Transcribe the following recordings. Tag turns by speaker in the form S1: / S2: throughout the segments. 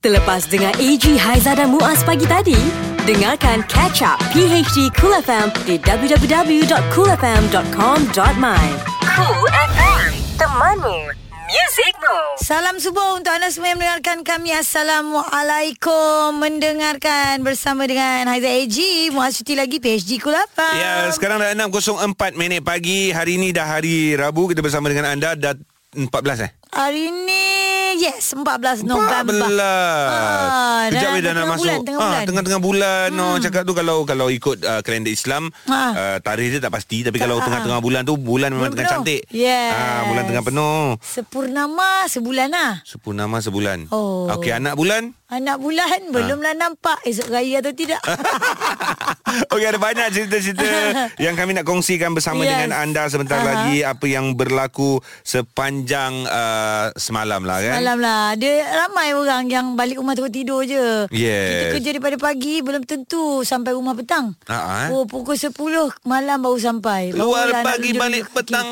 S1: Terlepas dengar AG Haiza dan Muaz pagi tadi, dengarkan Catch Up PHD Cool FM di www.coolfm.com.my. Cool FM, temanmu, muzikmu.
S2: Salam subuh untuk anda semua yang mendengarkan kami. Assalamualaikum. Mendengarkan bersama dengan Haiza AG. Muaz cuti lagi PHG Kulapa.
S3: Ya, sekarang dah 6.04 minit pagi. Hari ni dah hari Rabu. Kita bersama dengan anda dah 14 eh?
S2: Hari ni Yes 14 November
S3: 14.
S2: Ah,
S3: Kejap
S2: dah- dah
S3: weh dah nak
S2: tengah
S3: masuk. Ah,
S2: bulan, tengah bulan.
S3: tengah-tengah bulan. Hmm. Orang cakap tu kalau kalau ikut uh, kalender Islam,
S2: Ah.
S3: uh, tarikh dia tak pasti tapi kalau
S2: ah.
S3: tengah-tengah bulan tu bulan memang
S2: Bulan
S3: tengah
S2: penuh.
S3: cantik.
S2: Yes.
S3: Ah, bulan tengah penuh.
S2: Sepurnama sebulan lah
S3: Sepurnama sebulan.
S2: Oh.
S3: Okey, anak bulan.
S2: Anak bulan Belumlah nampak Esok raya atau tidak
S3: Okey ada banyak cerita-cerita yang kami nak kongsikan bersama yes.
S2: Yes.
S3: dengan anda sebentar
S2: Aha.
S3: lagi apa yang berlaku sepanjang uh, semalam lah kan.
S2: Malam lah Dia ramai orang yang balik rumah terus tidur je
S3: Yes.
S2: Kita kerja daripada pagi Belum tentu sampai rumah petang
S3: Ah, ah.
S2: Oh pukul 10 malam baru sampai
S3: Keluar
S2: Barulah nak
S3: pagi
S2: duduk-duduk
S3: balik
S2: kaki.
S3: petang.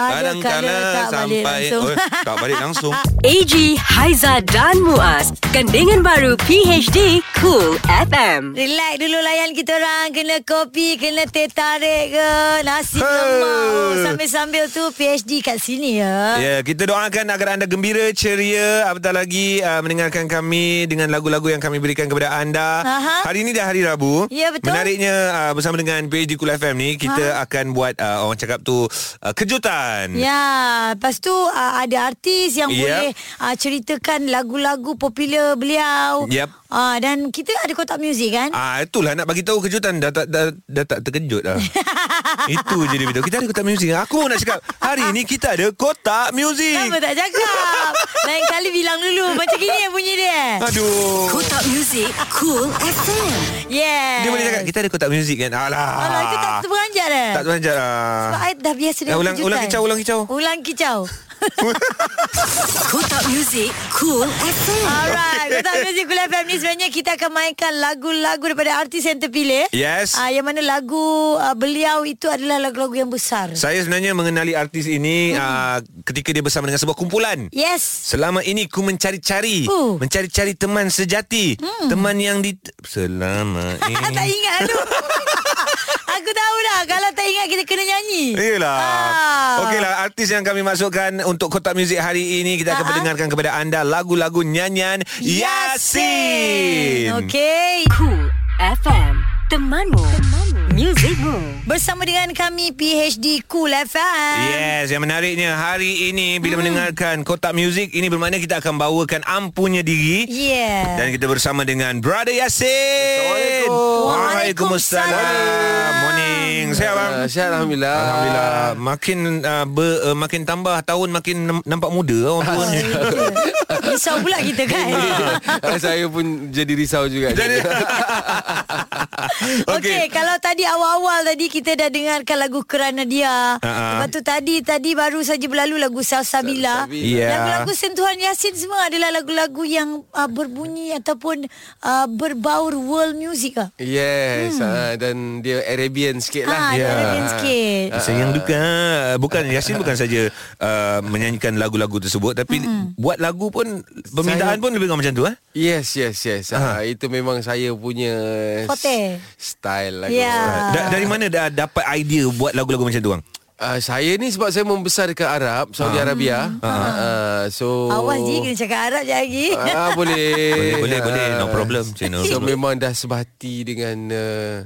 S2: Ada kala tak balik langsung
S3: Oh, tak balik langsung.
S1: AG Haiza dan Muaz, gandingan baru PHD Cool FM.
S2: Relax dulu layan kita orang Kena kopi, kena teh tarik ke Nasi
S3: Hey.
S2: lemak oh, Sambil-sambil tu PhD kat sini ya
S3: Ya, kita doakan agar anda gembira, ceria, apatah lagi uh, mendengarkan kami dengan lagu-lagu yang kami berikan kepada anda.
S2: Aha.
S3: Hari ini dah hari Rabu.
S2: Ya, betul.
S3: Menariknya uh, bersama dengan PhD Kul FM ni kita akan buat uh, orang cakap tu uh, kejutan.
S2: Ya, lepas tu uh, ada artis yang
S3: Yep.
S2: boleh uh, ceritakan lagu-lagu popular beliau.
S3: Yep.
S2: Uh, dan kita ada kotak muzik kan?
S3: Ah itulah nak bagi tahu kejutan dah tak dah, dah tak terkejut dah. Itu je dia beritahu. Kita ada kotak muzik. Aku nak cakap hari ini kita ada kotak muzik.
S2: Kenapa tak cakap? Lain kali bilang dulu. Macam gini yang bunyi dia.
S3: Aduh.
S1: Kotak muzik Cool FM.
S2: Yeah.
S3: Dia boleh cakap kita ada kotak muzik kan. Alah.
S2: Alah, Ah, lah, itu tak terperanjat eh.
S3: Tak terperanjat lah.
S2: Sebab I dah biasa dengan
S3: Eh, ulang-
S2: kejutan.
S3: ulang kicau, ulang kicau.
S2: Ulang kicau.
S1: Kotak muzik Cool FM.
S2: Alright, Kotak Muzik Kula FM ni sebenarnya kita akan mainkan lagu-lagu daripada artis yang terpilih.
S3: Yes.
S2: Ah, yang mana lagu ah, beliau itu adalah lagu-lagu yang besar.
S3: Saya sebenarnya mengenali artis ini hmm. uh, ketika dia bersama dengan sebuah kumpulan.
S2: Yes.
S3: Selama ini ku mencari-cari
S2: Oh.
S3: Mencari-cari teman sejati hmm. Teman yang di Selama
S2: Ah, tak
S3: ini
S2: ingat tu. Aku tahu dah Kalau tak ingat kita kena nyanyi
S3: Yelah lah.
S2: Ah.
S3: Okeylah Artis yang kami masukkan Untuk kotak muzik hari ini Kita
S2: Ah,
S3: akan
S2: ah.
S3: perdengarkan kepada anda Lagu-lagu nyanyian Yasin
S2: Okey
S1: Cool FM. Temanmu, temanmu, muzikmu.
S2: Bersama dengan kami PHD Cool FM
S3: Yes, yang menariknya hari ini bila hmm. mendengarkan kotak muzik ini bermakna kita akan bawakan ampunya diri
S2: Yeah
S3: dan kita bersama dengan Brother Yasin.
S2: Waalaikumsalam.
S3: Morning. Sihat bang?
S4: Uh, sihat Alhamdulillah
S3: Alhamdulillah makin uh, ber, uh, makin tambah tahun makin nam- nampak muda orang tua ni.
S2: Risau pula kita kan
S4: Ah, Saya pun jadi risau juga
S3: Jadi-
S2: Okey, okay, kalau tadi awal-awal tadi kita dah dengarkan lagu Kerana Dia. Uh-huh. Lepas tu tadi tadi baru saja berlalu lagu Salsabila.
S4: Salsabila.
S3: Ya.
S2: Lagu-lagu sentuhan Yasin semua adalah lagu-lagu yang uh, berbunyi ataupun uh, berbaur world music ah.
S4: Yes hmm. uh, Dan dia Arabian sikit
S2: Ha,
S4: lah
S2: yeah.
S3: Ya.
S2: Arabian sikit.
S3: Sayang duka Eh, Bukan Yasin bukan saja uh, Menyanyikan lagu-lagu tersebut Tapi mm-hmm. Buat lagu pun Permintaan
S4: Saya-
S3: pun lebih kurang macam tu eh?
S4: Yes yes yes
S3: Ah.
S4: uh, Itu memang saya punya
S2: Forte.
S4: s- Style lah
S2: Yeah.
S3: Da- dari mana Ya. dah dapat idea buat lagu-lagu macam tu bang?
S4: Uh, saya ni sebab saya membesar dekat Arab
S3: Ah.
S4: Saudi Arabia
S3: Hmm.
S4: uh, So
S2: Awas je kena cakap Arab je lagi.
S4: Ah, boleh.
S3: Boleh, boleh, boleh. No
S4: Ah.
S3: problem, cik, no
S4: So
S3: problem.
S4: memang dah sebati dengan uh,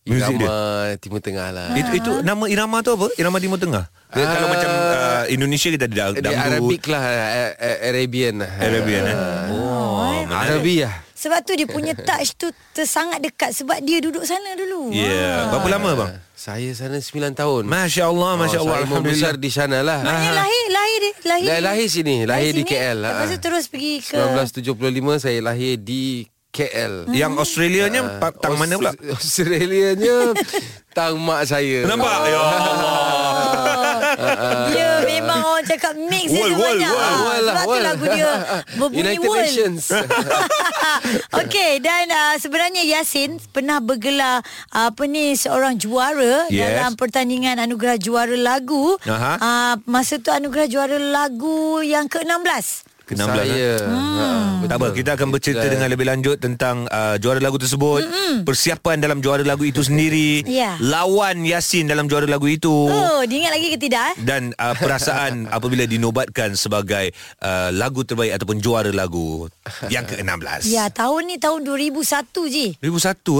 S3: Music
S4: Irama Timur Tengah lah
S3: Itu, itu nama irama tu apa? Irama Timur Tengah. Dia kalau
S4: Ah.
S3: macam uh, Indonesia kita ada
S4: Dia
S3: dangdut
S4: Arabic lah A- A- Arabian lah
S3: Arabian eh. Oh, menarik.
S4: Arabiah
S2: Sebab tu dia punya touch tu tersangat dekat sebab dia duduk sana dulu. Ah.
S3: Ya, yeah. berapa
S4: Ah.
S3: lama bang?
S4: Saya sana 9 tahun
S3: Masya-Allah, masya-Allah.
S4: saya
S3: Alhamdulillah.
S4: Oh, membesar di sana lah
S2: Maknanya lahir lahir dia- lahir.
S4: Lah- lahir sini, lahir di
S2: sini,
S4: KL, ah.
S2: Lepas tu terus pergi ke Hmm.
S4: 1975 saya lahir di KL
S3: Yang Australianya pa- Ya, tang mana pula?
S4: Aus- Australianya Tang mak saya Ah.
S3: Nampak? Ya Allah.
S2: Dia Ya, memang orang cakap mix dia
S3: World,
S2: tu
S3: world,
S2: banyak.
S3: world,
S2: Ah,
S4: world lah,
S2: Sebab tu
S4: world.
S2: lagu dia berbunyi
S4: United
S2: world.
S4: Nations
S2: Okey dan uh, sebenarnya Yasin pernah bergelar uh, apa ni seorang juara
S3: Yes.
S2: dalam pertandingan anugerah juara lagu. Ah,
S3: Aha.
S2: Uh, masa tu anugerah juara lagu yang ke-16.
S3: ke-16 eh?
S4: Saya hmm.
S3: Tak apa, kita akan bercerita dengan lebih lanjut tentang uh, juara lagu tersebut, mm-hmm. persiapan dalam juara lagu itu sendiri,
S2: Ya.
S3: lawan Yasin dalam juara lagu itu
S2: Oh, dia ingat lagi ke tidak? eh?
S3: dan uh, perasaan apabila dinobatkan sebagai uh, lagu terbaik ataupun juara lagu yang ke-16.
S2: Ya, tahun ni tahun 2001 je.
S3: 2001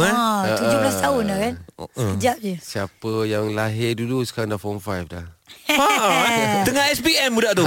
S4: Ah.
S3: eh. Oh,
S2: Ha, 17 tahun dah kan. Sekejap je.
S4: Siapa yang lahir dulu sekarang dah form 5 dah.
S3: Ha, tengah SPM budak tu.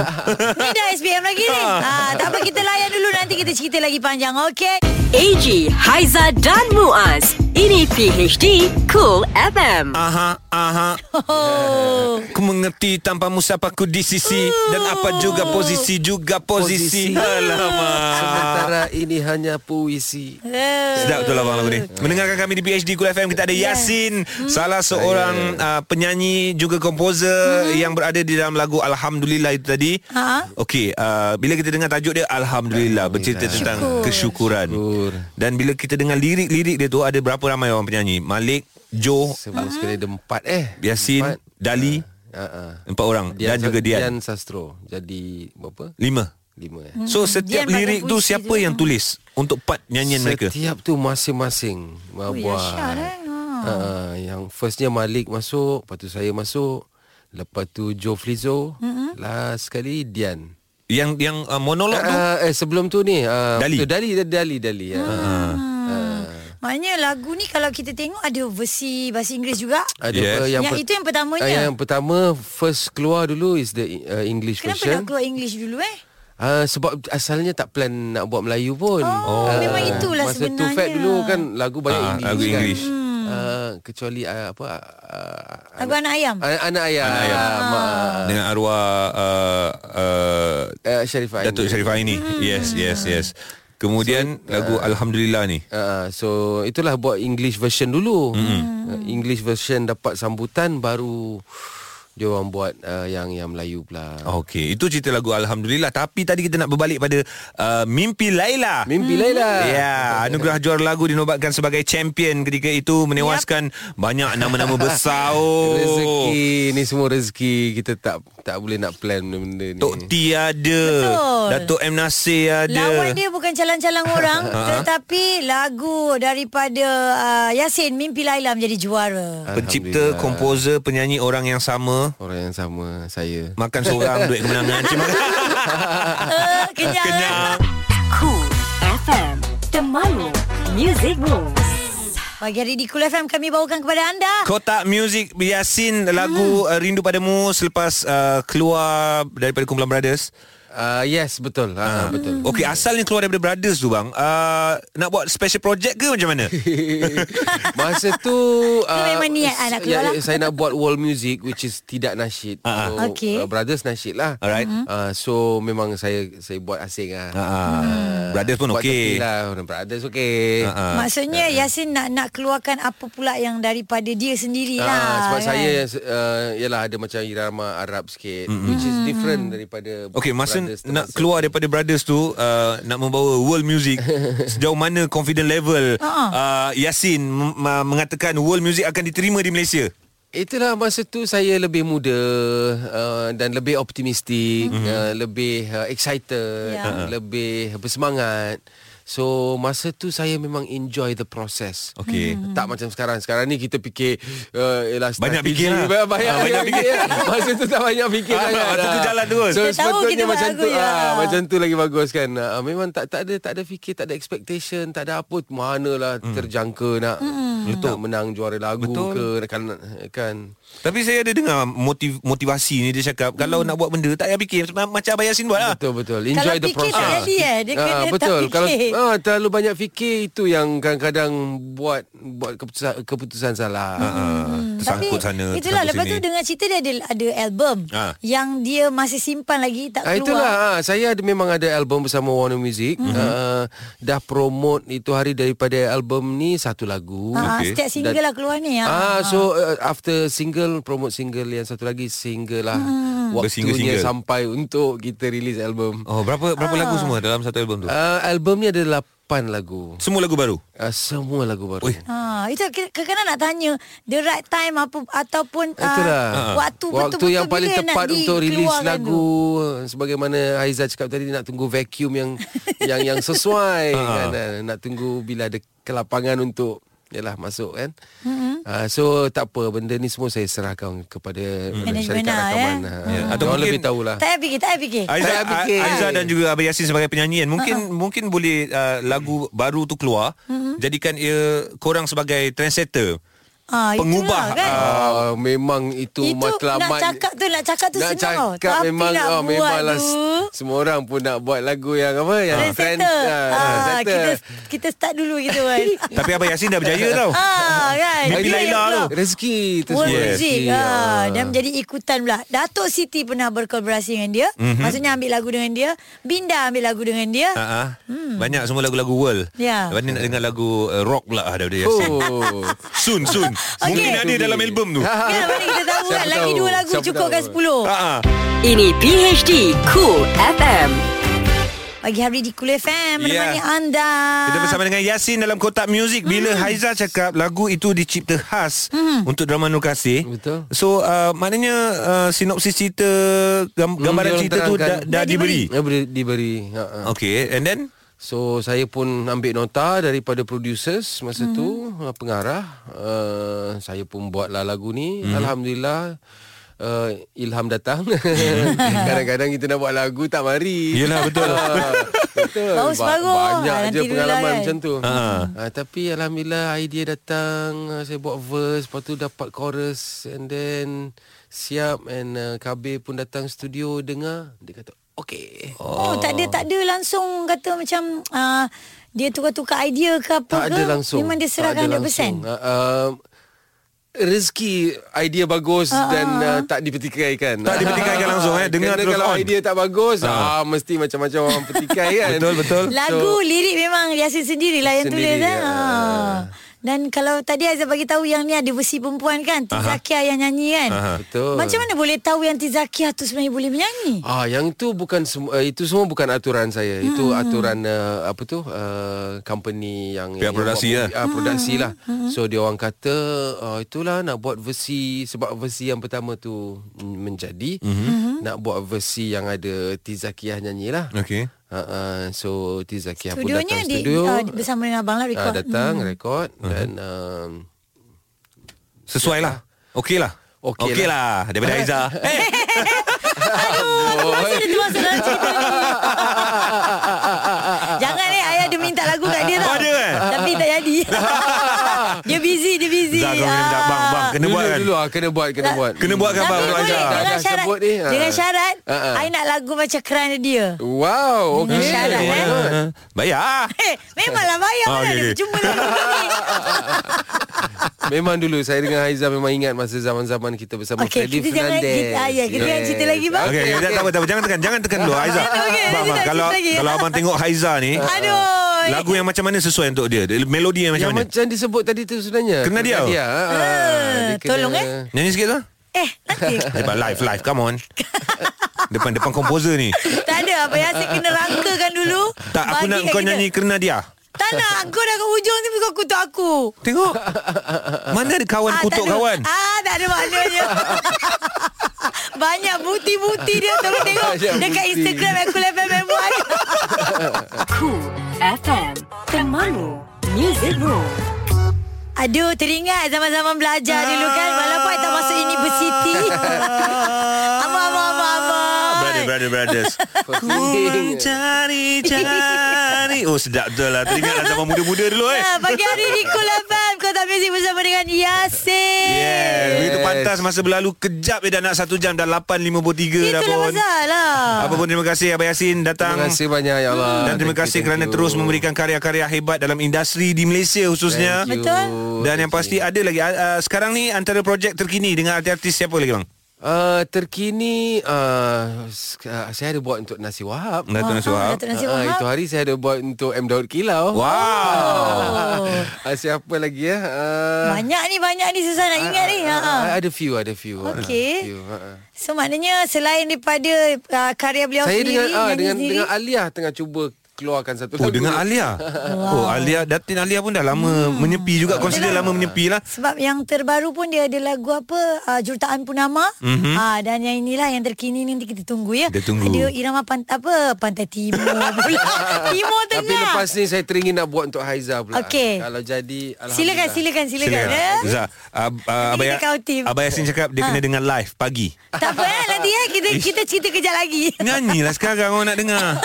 S2: Ni dah SPM lagi ni. Ha, tak apa kita layan dulu nanti kita cerita lagi panjang. Okey.
S1: AG, Haiza dan Muaz. Ini PHD Cool FM.
S3: Aha, aha.
S2: Oh.
S3: Ku mengerti tanpa musafaku di sisi dan apa juga posisi juga posisi.
S4: Posisi.
S3: Alamak.
S4: Sementara ini hanya puisi.
S2: Eh,
S3: Sedap betul abang lagu ni Mendengarkan kami di PhD Kul FM Kita ada Yasin
S2: Hmm.
S3: Salah seorang uh, penyanyi Juga komposer Yang berada di dalam lagu Alhamdulillah itu tadi
S2: Hmm. Ha.
S3: Okey uh, Bila kita dengar tajuk dia Alhamdulillah Bercerita tentang kesyukuran
S4: Syukur.
S3: Dan bila kita dengar lirik-lirik dia tu Ada berapa ramai orang penyanyi Malik Joe
S4: Semua sekali ada empat eh.
S3: Yasin
S4: Empat.
S3: Dali
S4: Uh, uh.
S3: Empat orang Dan juga Dian
S4: Dian Sastro. Jadi berapa?
S3: Lima
S4: Lima eh.
S3: So setiap
S2: Hmm, Dian bagai
S3: lirik tu
S2: puisi
S3: Siapa
S2: tu.
S3: yang tulis Untuk part nyanyian mereka
S4: Setiap tu masing-masing
S2: Oh,
S4: buat.
S2: ya, Syah, eh? Ha.
S4: Uh, yang firstnya Malik masuk, lepas tu saya masuk, lepas tu Joe Flizzo, mm-hmm. last sekali Dian.
S3: Yang yang uh, monolog tu
S4: Uh, eh sebelum tu ni uh,
S3: Dali.
S4: tu Dali Dali Dali. Uh.
S2: Ah. Maknanya lagu ni kalau kita tengok ada versi bahasa Inggeris juga.
S4: Ada
S3: Yes.
S4: uh, yang,
S2: Yang
S4: per-
S2: itu yang pertamanya.
S4: Uh, yang pertama first keluar dulu is the uh, English
S2: Kenapa
S4: version.
S2: nak keluar English dulu eh?
S4: Uh, sebab asalnya tak plan nak buat Melayu pun.
S2: Oh,
S4: Ah,
S2: memang itulah
S4: masa Masa
S2: sebenarnya. Hmm.
S4: tu Fat dulu kan lagu banyak
S3: Ah,
S4: English.
S3: lagu
S4: kan.
S3: English.
S4: Ah, kecuali uh, apa uh,
S2: Lagu Ah. anak ayam.
S4: anak, anak ayah. Anak ayah. Uh,
S3: Dengan arwah uh, uh,
S4: uh, Syarifah. Aini.
S3: Datuk Syarifah ini
S2: Hmm.
S3: Yes yes yes Kemudian lagu Alhamdulillah ni
S4: Uh, so itulah buat English version dulu. Mm.
S3: Hmm.
S4: Uh, English version dapat sambutan baru dia orang buat uh, yang yang Melayu pula.
S3: Ah, Okey, itu cerita lagu Alhamdulillah Tapi tadi kita nak berbalik pada uh, Mimpi Laila
S2: Hmm.
S4: Mimpi Laila.
S3: Ya, anugerah juara lagu dinobatkan sebagai champion ketika itu menewaskan banyak nama-nama besar. Oh.
S4: Rezeki ni semua rezeki kita tak tak boleh nak plan benda-benda ni.
S3: Tok T ada.
S2: Betul.
S3: Datuk M Nasir ada.
S2: Lawan dia bukan calang-calang orang
S4: Ha?
S2: Tetapi lagu daripada uh, Yasin Mimpi Laila menjadi juara
S3: Pencipta,
S4: Alhamdulillah.
S3: komposer, penyanyi orang yang sama.
S4: Orang yang sama saya.
S3: Makan seorang duit kemenangan. Terima kasih.
S2: uh, Kenyang, kenyang.
S3: Kenyang.
S1: Cool FM. Temanmu. Music Moves.
S2: Pagi hari di Kul FM kami bawakan kepada anda
S3: Kotak Music Yasin lagu hmm. Rindu Padamu selepas uh, keluar daripada Kumpulan Brothers.
S4: Uh, yes betul. Ah, betul.
S2: Hmm.
S3: Okey, asalnya keluar daripada Brothers tu bang. Uh, nak buat special project ke macam mana?
S4: Masa tu ah,
S2: memang niat ah, nak keluar
S4: saya-
S2: lah.
S4: Saya nak buat world music Which is tidak nasyid
S3: Ah, ah.
S4: so,
S2: Okey.
S4: ah, Brothers nasyid lah
S3: Alright. Mhm.
S4: Ah, So memang saya Saya buat asing lah
S2: Hmm.
S3: Ah, Brothers pun
S4: Buat tepi
S3: okey.
S4: lah Brothers okey
S3: Ah, ah.
S2: Maksudnya Yasin nak nak keluarkan apa pula yang daripada dia sendiri lah.
S4: Ah, sebab
S2: kan?
S4: saya uh, Yalah ada macam irama Arab sikit mm-hmm. Which is different
S2: Hmm.
S4: daripada
S3: Okey, masa
S4: Brothers
S3: nak
S4: termasuk.
S3: keluar daripada Brothers tu uh, nak membawa world music sejauh mana confident level
S2: Ah.
S3: uh, Yasin m- ma- mengatakan world music akan diterima di Malaysia.
S4: Itulah masa tu saya lebih muda uh, dan lebih optimistik,
S3: Mhm.
S4: mm-hmm. uh, lebih uh, excited,
S2: Ya.
S3: Uh-huh.
S4: yeah. lebih bersemangat. So masa tu saya memang enjoy the process.
S3: Okey.
S4: Mm-hmm. Tak macam sekarang. Sekarang ni kita fikir uh, ialah
S3: Banyak fikir
S4: strategi,
S3: lah.
S4: ba- Banyak,
S3: Ah, banyak
S4: banyak fikir. masa tu tak banyak fikir
S3: Ah,
S4: sangat.
S3: masa tu
S4: Ah.
S3: jalan terus.
S2: Kita
S4: So
S2: tahu kita
S4: sepatutnya
S2: buat
S4: macam
S2: lagu,
S4: tu.
S2: ya.
S4: ah, macam tu lagi bagus kan. Ah, memang tak tak ada tak ada fikir, tak ada expectation, tak ada apa manalah mm. terjangka nak
S2: Hmm.
S4: mm. nak menang juara lagu
S3: Hmm. Betul.
S4: ke kan kan.
S3: Tapi saya ada dengar motiv, motivasi ni dia cakap hmm. kalau nak buat benda tak payah fikir Ma- macam Abang Yasin buat lah.
S4: Betul betul. Enjoy the
S2: fikir tak
S4: process.
S2: jadi, eh. Dia kena tak
S4: betul.
S2: fikir.
S4: Kalau ah, terlalu banyak fikir itu yang kadang-kadang buat buat keputusan keputusan salah.
S3: Hmm.
S2: Tapi
S3: Tersangkut sana
S2: Itulah
S3: tersangkut
S2: lepas
S3: sini.
S2: tu dengan cerita dia ada, ada album
S3: Ha.
S2: Yang dia masih simpan lagi Tak
S4: Ah,
S2: keluar Mhm.
S4: itulah ah, saya ada memang ada album bersama Warner Music. Mm-hmm. Ah, dah promote itu hari daripada album ni satu lagu.
S2: ha,
S3: Okey.
S2: Setiap single lah keluar ni ha.
S4: Ah, so uh, after single promote single yang satu lagi single lah hmm. waktunya
S3: Bersingle-single.
S4: sampai untuk kita release album.
S3: Ah. Oh berapa berapa lagu semua dalam satu album tu?
S4: Uh, album ni ada lapan lagu.
S3: Semua lagu baru.
S4: Uh, semua lagu baru.
S3: Ui.
S2: Ha, itu kadang-kadang nak tanya the right time apa ataupun
S4: Itulah.
S3: Ah.
S2: uh, waktu
S4: Waktu
S2: betul-betul
S4: yang paling
S2: bila
S4: tepat
S2: nak
S4: untuk rilis
S2: dikeluarkan tu.
S4: lagu tu. sebagaimana Haiza cakap tadi nak tunggu vacuum yang yang yang sesuai kan Ah, nak tunggu bila ada kelapangan untuk yalah masuk kan. Mm-hmm. Uh, so tak apa benda ni semua saya serahkan kepada mm. syarikat
S2: Management lah, eh?
S4: rakaman. Yeah.
S3: Ya, atau
S4: Atau
S3: mungkin-
S4: lebih tahulah.
S2: Tak payah fikir, tak payah fikir. Ah,
S3: Aiza,
S4: Tak fikir.
S3: Aiza dan juga Abang Yasin sebagai penyanyi kan mungkin uh-huh. mungkin boleh uh, lagu baru tu keluar uh-huh. jadikan ia korang sebagai trendsetter
S2: Ha, itulah
S3: pengubah,
S4: Ah, memang itu,
S2: Itu
S4: matlamat
S2: nak cakap tu, nak cakap tu
S4: nak
S2: senang tau.
S4: cakap
S2: Tapi
S4: memang
S2: nak
S4: oh,
S2: buat
S4: memanglah
S2: tu.
S4: s- semua orang pun nak buat lagu yang apa yang
S2: Trend
S4: trend
S2: setter.
S4: ah,
S2: Ah,
S4: trendsetter.
S2: kita kita start dulu kita kan.
S3: tapi Abang Yasin dah berjaya tau
S2: ah, kan.
S3: Mimpi
S2: Itu yang
S3: Laila
S2: keluar.
S3: tu.
S4: Rezeki tu
S2: World
S4: semua.
S3: Yes.
S2: Music
S4: Rezeki,
S2: ha.
S4: ah.
S2: Dan menjadi ikutan pula Datuk Siti pernah berkolaborasi dengan dia mm-hmm.
S4: Mhm.
S2: Maksudnya ambil lagu dengan dia Binda ambil lagu dengan dia
S3: Ha ah. Hmm. Banyak semua lagu-lagu world.
S2: Ya.
S3: Lepas ni nak dengar lagu uh, rock pula ah, daripada Yasin. Oh.
S4: Oh. Ya.
S3: Soon soon.
S2: Okay.
S3: Mungkin ada dalam album tu. Ha
S2: Kan mana kita tahu
S4: Siapa
S2: kan Lagi
S4: tahu?
S2: dua lagu
S4: Siapa
S2: cukup kan
S4: tahu?
S2: sepuluh
S3: ah.
S1: Ini PHD Cool FM.
S2: Pagi hari di Kul FM
S3: Ya.
S2: Menemani anda
S3: Kita
S2: Ah.
S3: bersama dengan Yasin dalam kotak muzik bila hmm. Haiza cakap lagu itu dicipta khas hmm. untuk drama Nur Kasih.
S4: Betul.
S3: So uh, maknanya uh, sinopsis cerita gam, gambaran
S4: dia orang
S3: cerita tu dah,
S4: terangkan.
S3: dah
S2: Dah
S3: diberi.
S4: Ya, beri- diberi. Ha, ha.
S3: Okay and then
S4: So saya pun ambil nota daripada producers masa mm-hmm. tu
S2: Mhm.
S4: uh, pengarah uh, saya pun buatlah lagu
S3: Mhm.
S4: ni mm-hmm. alhamdulillah uh, ilham datang kadang-kadang kita nak buat lagu tak mari
S3: Yelah, betul.
S4: Ah, betul
S2: Baru separuh.
S4: banyak
S2: Ah,
S4: je
S2: nanti dulu lah,
S4: pengalaman
S2: kan?
S4: macam tu
S3: Ha.
S4: uh, tapi alhamdulillah idea datang uh, saya buat verse lepas tu dapat chorus and then siap and uh, KB pun datang studio dengar dia kata okey
S2: Oh, tak ada tak ada langsung kata macam uh, dia tukar-tukar idea ke apa
S4: Tak
S2: ke?
S4: ada langsung.
S2: Memang dia
S4: Tak
S2: serahkan 100%.
S4: ada langsung. Uh, uh, rezeki idea bagus
S2: Ah,
S4: uh, dan uh, tak dipertikaikan.
S3: Tak dipertikaikan langsung, eh. Dengar
S4: Kerana
S3: terus
S4: kalau
S3: on.
S4: idea tak bagus, uh. ah mesti macam-macam orang petikai kan.
S3: Betul, betul.
S2: Lagu so, lirik memang Yasin sendirilah yang
S4: Sendiri,
S2: tulis kan.
S4: ya.
S2: Ha. Dan kalau tadi Aizah bagi tahu yang ni ada versi perempuan kan, Tizakia yang nyanyi kan.
S3: Aha.
S4: Betul.
S2: Macam mana boleh tahu yang Tizakia tu sebenarnya boleh menyanyi?
S4: Ah, yang tu bukan sem- uh, itu semua bukan aturan saya. Hmm. Itu aturan uh, apa tu? Uh, company yang
S3: Pihak
S4: yang
S3: produksi
S4: buat movie, Ah, produksi lah. Hmm. So dia orang kata uh, itulah nak buat versi sebab versi yang pertama tu mm, menjadi
S3: Mhm.
S2: Mhm.
S4: hmm. nak buat versi yang ada Tizakiah nyanyilah.
S3: okay.
S4: Uh, uh, so Tizakiah pun
S2: Studionya
S4: datang
S2: di,
S4: studio.
S2: ah, bersama dengan abang lah
S4: Ah,
S2: record.
S4: datang hmm. rekod
S3: Mhm.
S4: dan um,
S3: Sesuai lah. Okey lah.
S4: Okey
S3: Okey lah. Daripada Haiza. Eh,
S4: Oh,
S2: Masih dia termasuk dalam cerita ni. Jangan eh Ayah dia minta lagu kat dia tau
S3: Oh, ada eh?
S2: Tapi tak jadi Dia busy Dia busy
S3: Zah kau
S2: ya.
S3: kena minta bang, bang. Kena
S4: dulu,
S3: buat kan.
S4: dulu ah kena buat kena buat.
S3: Kena buat kan
S2: Lah, Tapi boleh
S3: bang untuk Haiza.
S2: Dengan
S4: Dah
S2: syarat
S4: sebut ni, ah.
S2: Dengan syarat
S4: Ah, ah.
S2: Ayah nak lagu macam kerana dia
S4: Wow,
S2: Dengan
S4: okey.
S2: syarat, eh?
S4: Why not?
S3: Eh, Bayar.
S2: Eh, memanglah bayar
S3: Ah,
S2: mana
S3: okey,
S2: ada
S3: okey.
S2: berjumpa lagu ni.
S4: Memang dulu saya dengan Haiza memang ingat masa zaman-zaman kita bersama
S2: Okey,
S4: Freddy
S2: kita jangan-
S4: Fernandez.
S2: kita- ah, ya, kita jangan cerita lagi, bang.
S3: Okey, okay, tak apa, tak apa. Jangan tekan, jangan tekan dulu Haiza.
S2: Okey, okey,
S3: Bang,
S2: nanti
S3: bang,
S2: tak
S3: kalau
S2: cerita lagi.
S3: kalau abang tengok Haiza ni,
S2: Aduh.
S3: lagu yang macam mana sesuai untuk dia? Dia- Melodi yang macam
S4: Yang
S3: mana?
S4: macam disebut tadi tu sebenarnya.
S3: Kena dia.
S4: dia. ah, ah, dia kena-
S2: tolong, eh?
S3: Nyanyi sikit lah.
S2: Eh, nanti.
S3: Hebat live, live. Come on. Depan depan komposer ni.
S2: tak ada apa yang saya kena rangkakan dulu.
S3: Tak, aku
S2: Bagi
S3: nak
S2: kat
S3: kau
S2: kita.
S3: nyanyi kerana dia.
S2: Tak nak. Kau dah ke hujung ni kau kutuk aku.
S3: Tengok. Mana ada kawan
S2: Ah, tak
S3: kutuk
S2: ada-
S3: kawan?
S2: Ah, tak ada maknanya. Banyak bukti-bukti dia Tolong tengok
S4: Banyak
S2: Dekat
S4: bukti.
S2: Instagram Aku level member
S1: Cool FM. Temanmu. Music Room.
S2: Aduh teringat Zaman-zaman belajar dulu kan Walaupun I tak masuk universiti
S4: Ah,
S2: Abang abang abang abang
S3: Brother, brother, brothers. Ku mencari-cari. Oh, sedap betul lah. Teringatlah zaman muda-muda dulu eh.
S2: Ah, Pagi hari di Kul FM Kota Music bersama dengan
S4: Ya,
S2: Yasin
S3: Yes. Begitu
S4: Yes.
S3: pantas masa berlalu kejap je dah nak 1 jam dah 8.53 dah
S2: Itulah
S3: pun.
S2: pasal lah
S3: Apa pun terima kasih Abang Yasin datang.
S4: Terima kasih banyak ya Allah.
S3: Dan terima
S4: Thank you,
S3: kasih
S4: thank
S3: kerana
S4: you.
S3: terus memberikan karya-karya hebat dalam industri di Malaysia khususnya.
S4: Thank you.
S2: Betul.
S3: Dan yang pasti ada lagi uh, sekarang ni antara projek terkini dengan artis-artis siapa lagi bang?
S4: Uh, terkini uh, sk- uh, saya ada buat untuk Nasi Wahab.
S3: Datuk
S2: Ah,
S3: Nasir Wahab.
S2: Datuk Nasir
S4: Ah,
S2: Wahab.
S4: itu hari saya ada buat untuk M Daud Kilau.
S3: Wow.
S2: Oh.
S4: Ah, siapa lagi ya? Uh,
S2: Banyak ni Banyak ni Susah
S4: Ah,
S2: nak ingat ni Ha, ha.
S4: Ada few, ada few.
S2: Okey.
S4: Ada few, ha, ha.
S2: So maknanya Selain daripada uh, Karya beliau
S4: Saya
S2: sendiri
S4: dengan ah,
S2: nyanyi
S4: dengan
S2: sendiri,
S4: dengan Alia tengah cuba keluarkan satu
S3: Oh
S4: lagu.
S3: dengan Alia Oh Alia Datin Alia pun dah
S2: Hmm.
S3: lama Menyepi juga Consider lama menyepi lah
S2: Sebab yang terbaru pun dia ada lagu apa uh, Jurutaan Purnama mm-hmm. uh, Dan yang inilah yang terkini ni nanti kita tunggu ya
S3: Kita tunggu.
S2: Ada irama pant- apa Pantai Timur pula Timur Tengah
S4: Tapi lepas ni saya teringin nak buat untuk Haiza pula.
S2: Okey.
S4: Kalau jadi
S2: Silakan, silakan, silakan. silakan.
S3: Silakan.
S2: Ya?
S3: Zah uh, uh,
S2: Nanti
S3: Abang,
S2: kita kau Ha. team.
S3: Ya- Abang Yasin cakap Dia kena dengar live pagi
S2: Tak apa eh, nanti eh kita kita cerita kejap lagi.
S3: Nyanyilah lah sekarang Orang nak dengar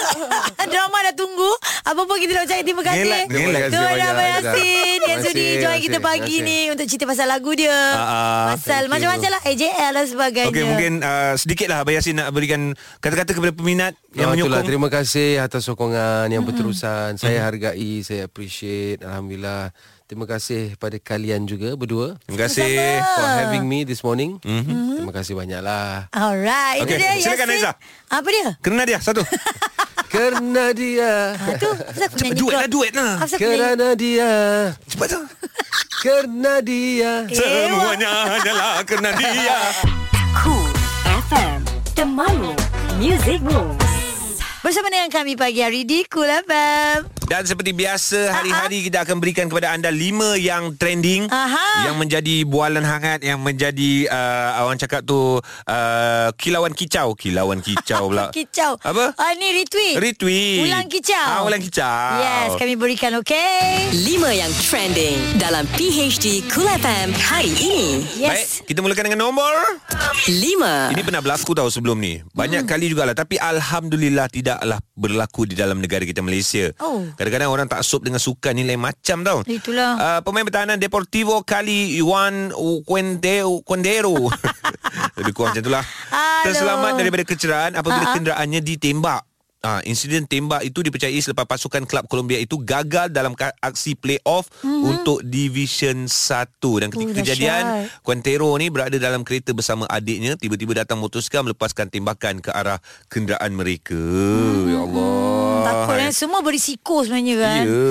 S2: Drama dah tunggu. Apa pun kita nak ucapkan terima kasih.
S3: Ngelak, ngelak.
S2: Tu
S4: Terima kasih
S2: ada Abang
S4: banyak,
S2: Yasin
S4: Aizah.
S2: yang
S4: Terima
S2: sudi
S4: kasih,
S2: join
S4: terima
S2: kita
S4: kasih,
S2: pagi
S4: terima
S2: ni untuk cerita pasal lagu dia.
S3: ah,
S2: pasal
S4: thank
S2: macam-macam
S4: you.
S2: lah AJL dan sebagainya.
S3: Okey mungkin uh, sedikit lah Abang Yasin nak berikan Kata-kata kepada peminat Yang
S4: Yang
S3: menyokong
S4: Ya, itulah, terima kasih atas sokongan yang berterusan. Saya hargai, saya appreciate. Alhamdulillah. Terima kasih pada kalian juga berdua
S3: Terima kasih
S4: for having me this morning. Mm-hmm. Terima kasih banyaklah.
S2: Alright, itu
S3: Okey,
S2: dia
S3: silakan,
S2: Yasin.
S3: Aizah.
S2: Apa dia?
S3: Kena dia satu
S4: Kerana dia,
S2: Ha, tu, pasal aku
S3: Cepat
S2: nyanyi
S3: duet
S2: kot.
S3: lah duet lah
S2: Pasal aku nyanyi.
S4: kerana dia,
S3: Cepat tu
S4: kerana dia.
S3: Eh. Semuanya hanyalah kena dia
S1: Cool FM Temanmu Music Moves
S2: Bersama dengan kami pagi hari di Cool FM.
S3: Dan seperti biasa hari-hari kita akan berikan kepada anda lima yang trending
S2: Aha.
S4: Ya.
S3: yang menjadi bualan hangat yang menjadi uh, orang cakap tu uh, kilauan kicau, kilauan kicau pula.
S2: Kicau.
S3: Apa?
S2: Ah, ni retweet.
S3: Retweet.
S2: Ulang kicau.
S3: Ah ulang kicau.
S2: Yes, kami berikan okey.
S1: 5 yang trending dalam PHD Cool FM hari ini
S2: Yes.
S3: Baik, kita mulakan dengan nombor
S1: 5
S3: Ini pernah berlaku tau sebelum ni Banyak
S2: Hmm.
S3: kali jugalah Tapi Alhamdulillah tidaklah berlaku di dalam negara kita Malaysia
S2: Oh.
S3: Kadang-kadang orang tak sup dengan sukan ni lain macam tau
S2: Itulah.
S3: uh, Pemain pertahanan Deportivo Kali Juan Quendero Quendero Lebih kurang macam itulah
S2: Aduh. Ah,
S3: Terselamat daripada kecederaan Apabila uh-huh. kenderaannya ditembak Ah, insiden tembak itu dipercayai selepas pasukan klub Colombia itu gagal dalam ka- aksi playoff mm-hmm. untuk Division 1 dan ketika
S2: Mhm. Oh, dahsyat.
S3: kejadian Quintero ni berada dalam kereta bersama adiknya tiba-tiba datang motosikal melepaskan tembakan ke arah kenderaan mereka. Ya Allah.
S2: Takut kan Semua berisiko sebenarnya kan
S3: Ya.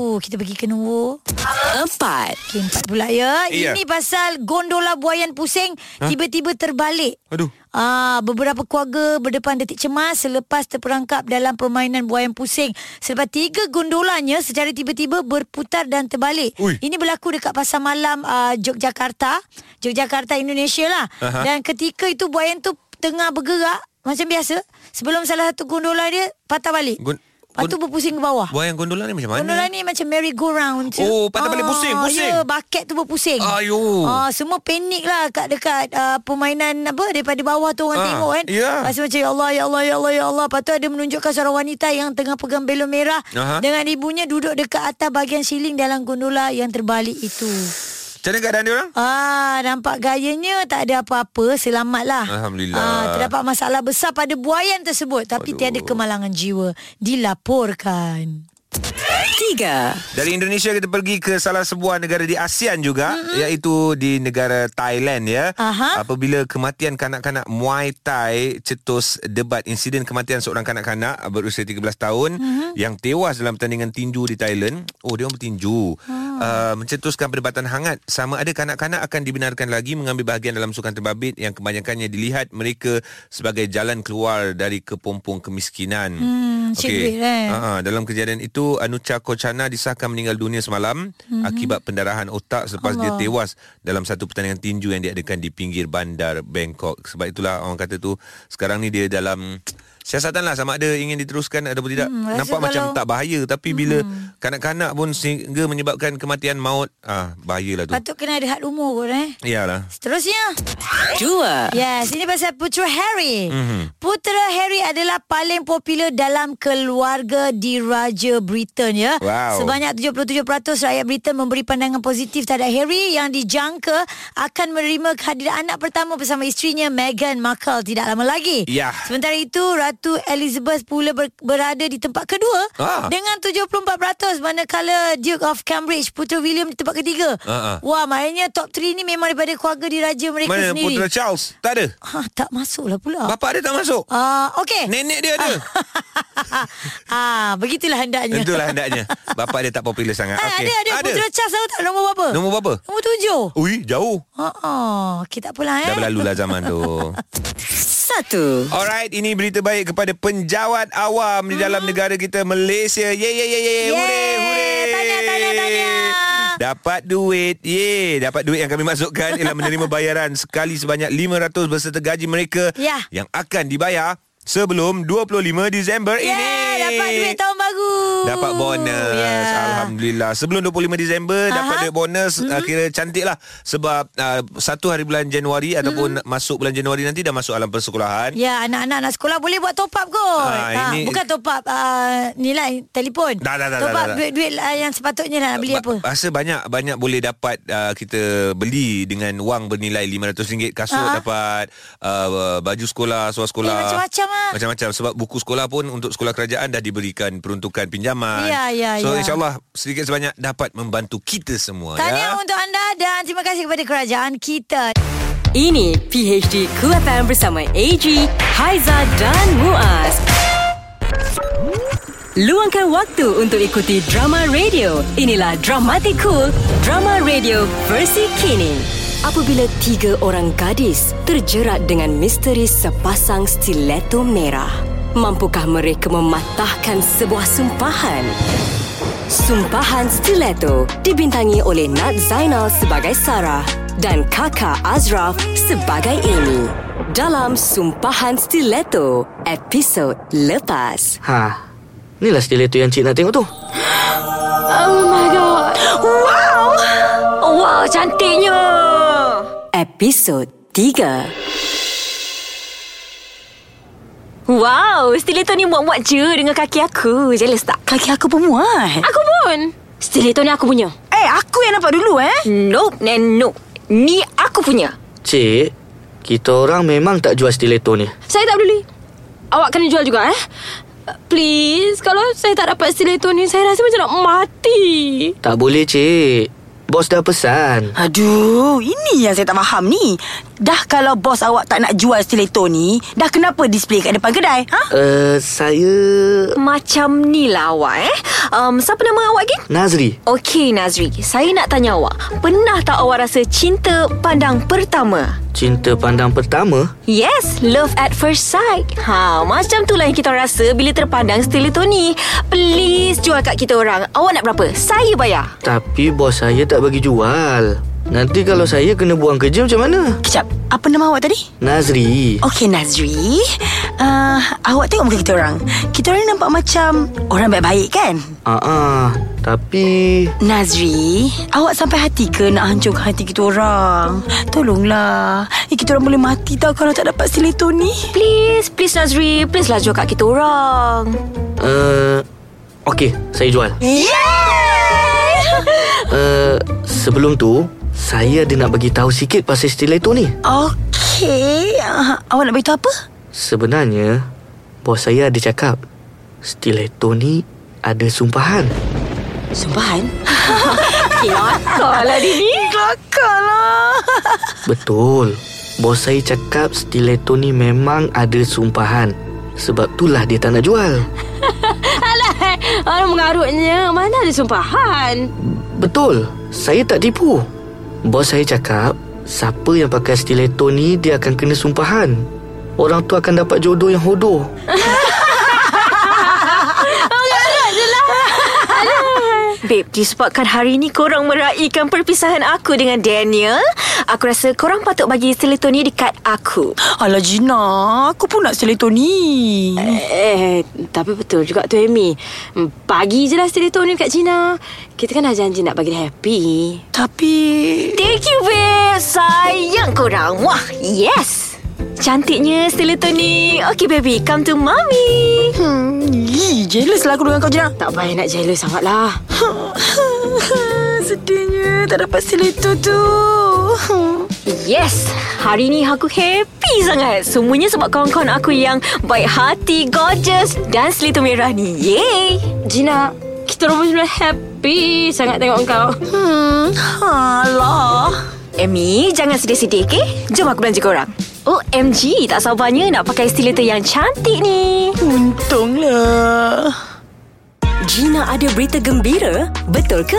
S2: Oh kita pergi ke nombor
S1: 4
S2: Okay empat pula ya
S3: Ya.
S2: Ini pasal gondola buayan pusing Tiba-tiba terbalik
S3: Aduh.
S2: Ah, beberapa keluarga berdepan detik cemas selepas terperangkap dalam permainan buayan pusing. Selepas tiga gondolanya secara tiba-tiba berputar dan terbalik.
S3: Ui.
S2: Ini berlaku dekat pasar malam uh, Yogyakarta, Yogyakarta Indonesia lah.
S3: Aha.
S2: Dan ketika itu buayan tu tengah bergerak macam biasa sebelum salah satu gondola dia patah balik.
S3: Gun-
S2: Lepas tu
S3: gun-
S2: berpusing ke bawah.
S3: Buah yang gondola ni macam mana?
S2: Gondola ni macam merry-go-round tu.
S3: Oh, patah balik pusing, pusing.
S2: Ya, baket tu berpusing.
S3: Ayuh.
S2: Ah, semua panik lah kat dekat uh, permainan apa daripada bawah tu orang
S3: Ah,
S2: tengok kan.
S3: ya.
S2: Lepas tu macam ya Allah, ya Allah, ya Allah, ya Allah. Lepas tu ada menunjukkan seorang wanita yang tengah pegang belon merah
S3: Aha.
S2: dengan ibunya duduk dekat atas bahagian siling dalam gondola yang terbalik itu.
S3: Macam mana keadaan dia orang?
S2: Ah, nampak gayanya tak ada apa-apa. Selamatlah.
S3: Alhamdulillah.
S2: Ah, terdapat masalah besar pada buayan tersebut tapi
S3: Aduh.
S2: tiada kemalangan jiwa. Dilaporkan.
S1: 3
S3: Dari Indonesia kita pergi ke salah sebuah negara di ASEAN juga mm-hmm. iaitu di negara Thailand ya.
S2: Aha.
S3: Apabila kematian kanak-kanak Muay Thai cetus debat insiden kematian seorang kanak-kanak berusia 13 tahun mm-hmm. yang tewas dalam pertandingan tinju di Thailand. Oh dia orang bertinju.
S2: Ah.
S3: Uh, mencetuskan perdebatan hangat sama ada kanak-kanak akan dibenarkan lagi mengambil bahagian dalam sukan terbabit yang kebanyakannya dilihat mereka sebagai jalan keluar dari kepompong kemiskinan.
S2: Hmm, cik duit, eh.
S3: Ah, Ah, dalam kejadian itu Anucha Kochana disahkan meninggal dunia semalam
S2: Mhm.
S3: mm-hmm. akibat pendarahan otak selepas Allah. dia tewas dalam satu pertandingan tinju yang diadakan di pinggir bandar Bangkok. Sebab itulah orang kata tu sekarang ni dia dalam siasatan lah sama ada ingin diteruskan ataupun tidak.
S2: Hmm,
S3: Hmm,
S2: rasa
S3: Nampak macam
S2: kalau- Hmm.
S3: tak bahaya tapi bila kanak-kanak pun sehingga menyebabkan kematian maut ah bahayalah tu.
S2: Patut kena ada had umur kot eh.
S3: Iyalah.
S2: Seterusnya.
S1: 2
S2: Yes, ini pasal Putera Harry.
S3: Mhm.
S2: Mm-hmm. Putera Harry adalah paling popular dalam keluarga di Raja Britain ya.
S3: Wow.
S2: Sebanyak 77% rakyat Britain memberi pandangan positif terhadap Harry yang dijangka akan menerima kehadiran anak pertama bersama isterinya Meghan Markle tidak lama lagi.
S3: Ya.
S2: Sementara itu, Ratu Elizabeth pula ber- berada di tempat kedua
S3: Ah.
S2: dengan 74% manakala Duke of Cambridge Putera William di tempat ketiga.
S3: Ah, ah.
S2: Wah, maknanya top 3 ni memang daripada keluarga di Raja mereka
S3: Mana
S2: sendiri. Oh.
S3: putera Charles? Tak ada.
S2: Ha, tak masuklah pula.
S3: Bapak dia tak masuk.
S2: Ah, uh, okey.
S3: Nenek dia ada.
S2: ah, begitulah hendaknya.
S3: Itulah hendaknya. Bapak dia tak popular sangat.
S2: Ah,
S3: lah. Okey.
S2: Ada, ada. Putera Charles tahu tak nombor berapa?
S3: Nombor berapa?
S2: Nombor tujuh.
S3: Ui, jauh.
S2: Ha, ah, okay, tak apalah eh.
S3: Dah berlalu lah zaman tu
S1: Satu satu.
S3: Alright, ini berita baik kepada penjawat awam di
S2: Hmm.
S3: dalam negara kita Malaysia. Ye ye ye ye. Hore hore.
S2: Tahniah, tahniah, tahniah.
S3: Dapat duit. Ye, dapat duit yang kami masukkan ialah menerima bayaran sekali sebanyak 500 berserta gaji mereka
S2: Ya.
S3: yang akan dibayar sebelum 25 Disember
S2: Yeah,
S3: ini.
S2: Ya, dapat duit tahun baru. Ya.
S3: Dapat bonus
S2: Yeah.
S3: Alhamdulillah Sebelum 25 Disember Dapat
S2: Aha.
S3: duit bonus mm-hmm. Kira cantik lah Sebab uh, Satu hari bulan Januari Ataupun
S2: Mm-hmm.
S3: masuk bulan Januari nanti Dah masuk alam persekolahan
S2: Ya, anak-anak nak sekolah boleh buat top up kot.
S3: Ah,
S2: Ha,
S3: ini-
S2: bukan top up uh, nilai telefon.
S3: Dah, dah, dah,
S2: top
S3: dah,
S2: up
S3: dah.
S2: duit-duit uh, yang sepatutnya lah nak beli
S3: Ba-
S2: apa.
S3: Rasa banyak Banyak boleh dapat uh, Kita beli Dengan wang bernilai RM500
S2: Ah.
S3: Kasut uh-huh. dapat uh, Baju sekolah Suara sekolah
S2: Eh, macam-macam lah.
S3: Macam-macam Sebab buku sekolah pun Untuk sekolah kerajaan Dah diberikan peruntukan pinjaman
S2: Ya, ya,
S3: So
S2: ya.
S3: insyaAllah Sedikit sebanyak Dapat membantu kita semua
S2: Tahniah
S3: ya.
S2: untuk anda dan terima kasih kepada kerajaan kita.
S1: Ini PHD Cool FM bersama AG, Haiza dan Muaz. Luangkan waktu untuk ikuti drama radio. Inilah Dramatic Cool, drama radio versi kini. Apabila tiga orang gadis terjerat dengan misteri sepasang stiletto merah, mampukah mereka mematahkan sebuah sumpahan? Sumpahan Stiletto dibintangi oleh Nat Zainal sebagai Sarah dan kakak Azraf sebagai Amy. Dalam Sumpahan Stiletto, episod lepas.
S5: Ha. Inilah stiletto yang cik nak tengok tu.
S6: Oh,
S1: Episod 3.
S6: Wow, stiletto ni muat-muat je dengan kaki aku. Jealous tak?
S7: Kaki aku pun muat.
S6: Aku pun. Stiletto ni aku punya.
S7: Eh, aku yang nampak dulu eh.
S6: Nope, and nope. Ni aku punya.
S5: Cik, kita orang memang tak jual stiletto ni.
S6: Saya tak peduli. Awak kena jual juga eh. Uh, Please, kalau saya tak dapat stiletto ni, saya rasa macam nak mati.
S5: Tak boleh, cik. Bos dah pesan.
S7: Aduh, ini yang saya tak faham ni. Dah kalau bos awak tak nak jual stiletto ni, dah kenapa display kat depan kedai? Ha?
S5: Uh, saya...
S6: Macam ni lah awak eh. Um, siapa nama awak lagi?
S5: Nazri.
S6: Okey Nazri, saya nak tanya awak. Pernah tak awak rasa cinta pandang pertama?
S5: Cinta pandang pertama?
S6: Yes, love at first sight. Ha, macam tu lah yang kita rasa bila terpandang stiletto ni. Please jual kat kita orang. Awak nak berapa? Saya bayar.
S5: Tapi bos saya tak bagi jual. Nanti kalau saya kena buang kerja macam mana?
S7: Kejap, apa nama awak tadi?
S5: Nazri.
S1: Oh.
S7: Okey Nazri uh, Awak tengok muka kita orang Kita orang ni nampak macam Orang baik-baik kan
S5: Ah, ah. tapi...
S7: Nazri Awak sampai hati ke Nak hancurkan hati kita orang Tolonglah eh, Kita orang boleh mati tau Kalau tak dapat stiletto ni
S6: Please, please Nazri. Please lah jual kat kita orang.
S5: Uh, Okey, saya jual.
S7: Yeah
S5: Uh, sebelum tu, saya ada nak bagi tahu sikit pasal stiletto ni.
S7: Okey uh, Awak nak beritahu apa?
S5: Sebenarnya Bos saya ada cakap Stiletto ni Ada sumpahan
S7: Sumpahan? lah
S6: Kalau dia ni.
S7: Kelakar lah
S5: Betul Bos saya cakap Stiletto ni memang ada sumpahan Sebab itulah dia tak nak jual
S6: Alah, orang mengarutnya. Mana ada sumpahan?
S5: Betul Saya tak tipu Bos saya cakap Siapa yang pakai stiletto ni Dia akan kena sumpahan Orang tu akan dapat jodoh yang hodoh
S6: Babe, disebabkan hari ni korang meraihkan perpisahan aku dengan Daniel, aku rasa korang patut bagi stiletto ni dekat aku.
S7: Alah Gina Aku pun nak stiletto ni
S6: Eh, tapi betul juga tu Amy. Hmm, Bagi je lah stiletto ni dekat Cina. Kita kan dah janji nak bagi dia happy.
S7: Tapi
S6: Thank you, babe. Sayang korang. Wah, yes. Cantiknya stiletto ni. Okay, baby. Come to mommy. Hmm.
S7: Ih, jealous lah aku dengan kau Gina
S6: Tak payah nak jealous sangat lah.
S7: Sedihnya tak dapat stiletto tu
S6: Yes, hari ni aku happy sangat. Semuanya sebab kawan-kawan aku yang baik hati, gorgeous dan selito merah ni. Yay! Gina, kita orang semua happy sangat tengok kau.
S7: Hmm, alah
S6: Amy, jangan sedih-sedih, okay? Jom aku belanja korang. OMG, Oh, tak sabarnya nak pakai stiletto yang cantik ni.
S7: Untunglah
S1: Gina ada berita gembira, betul ke?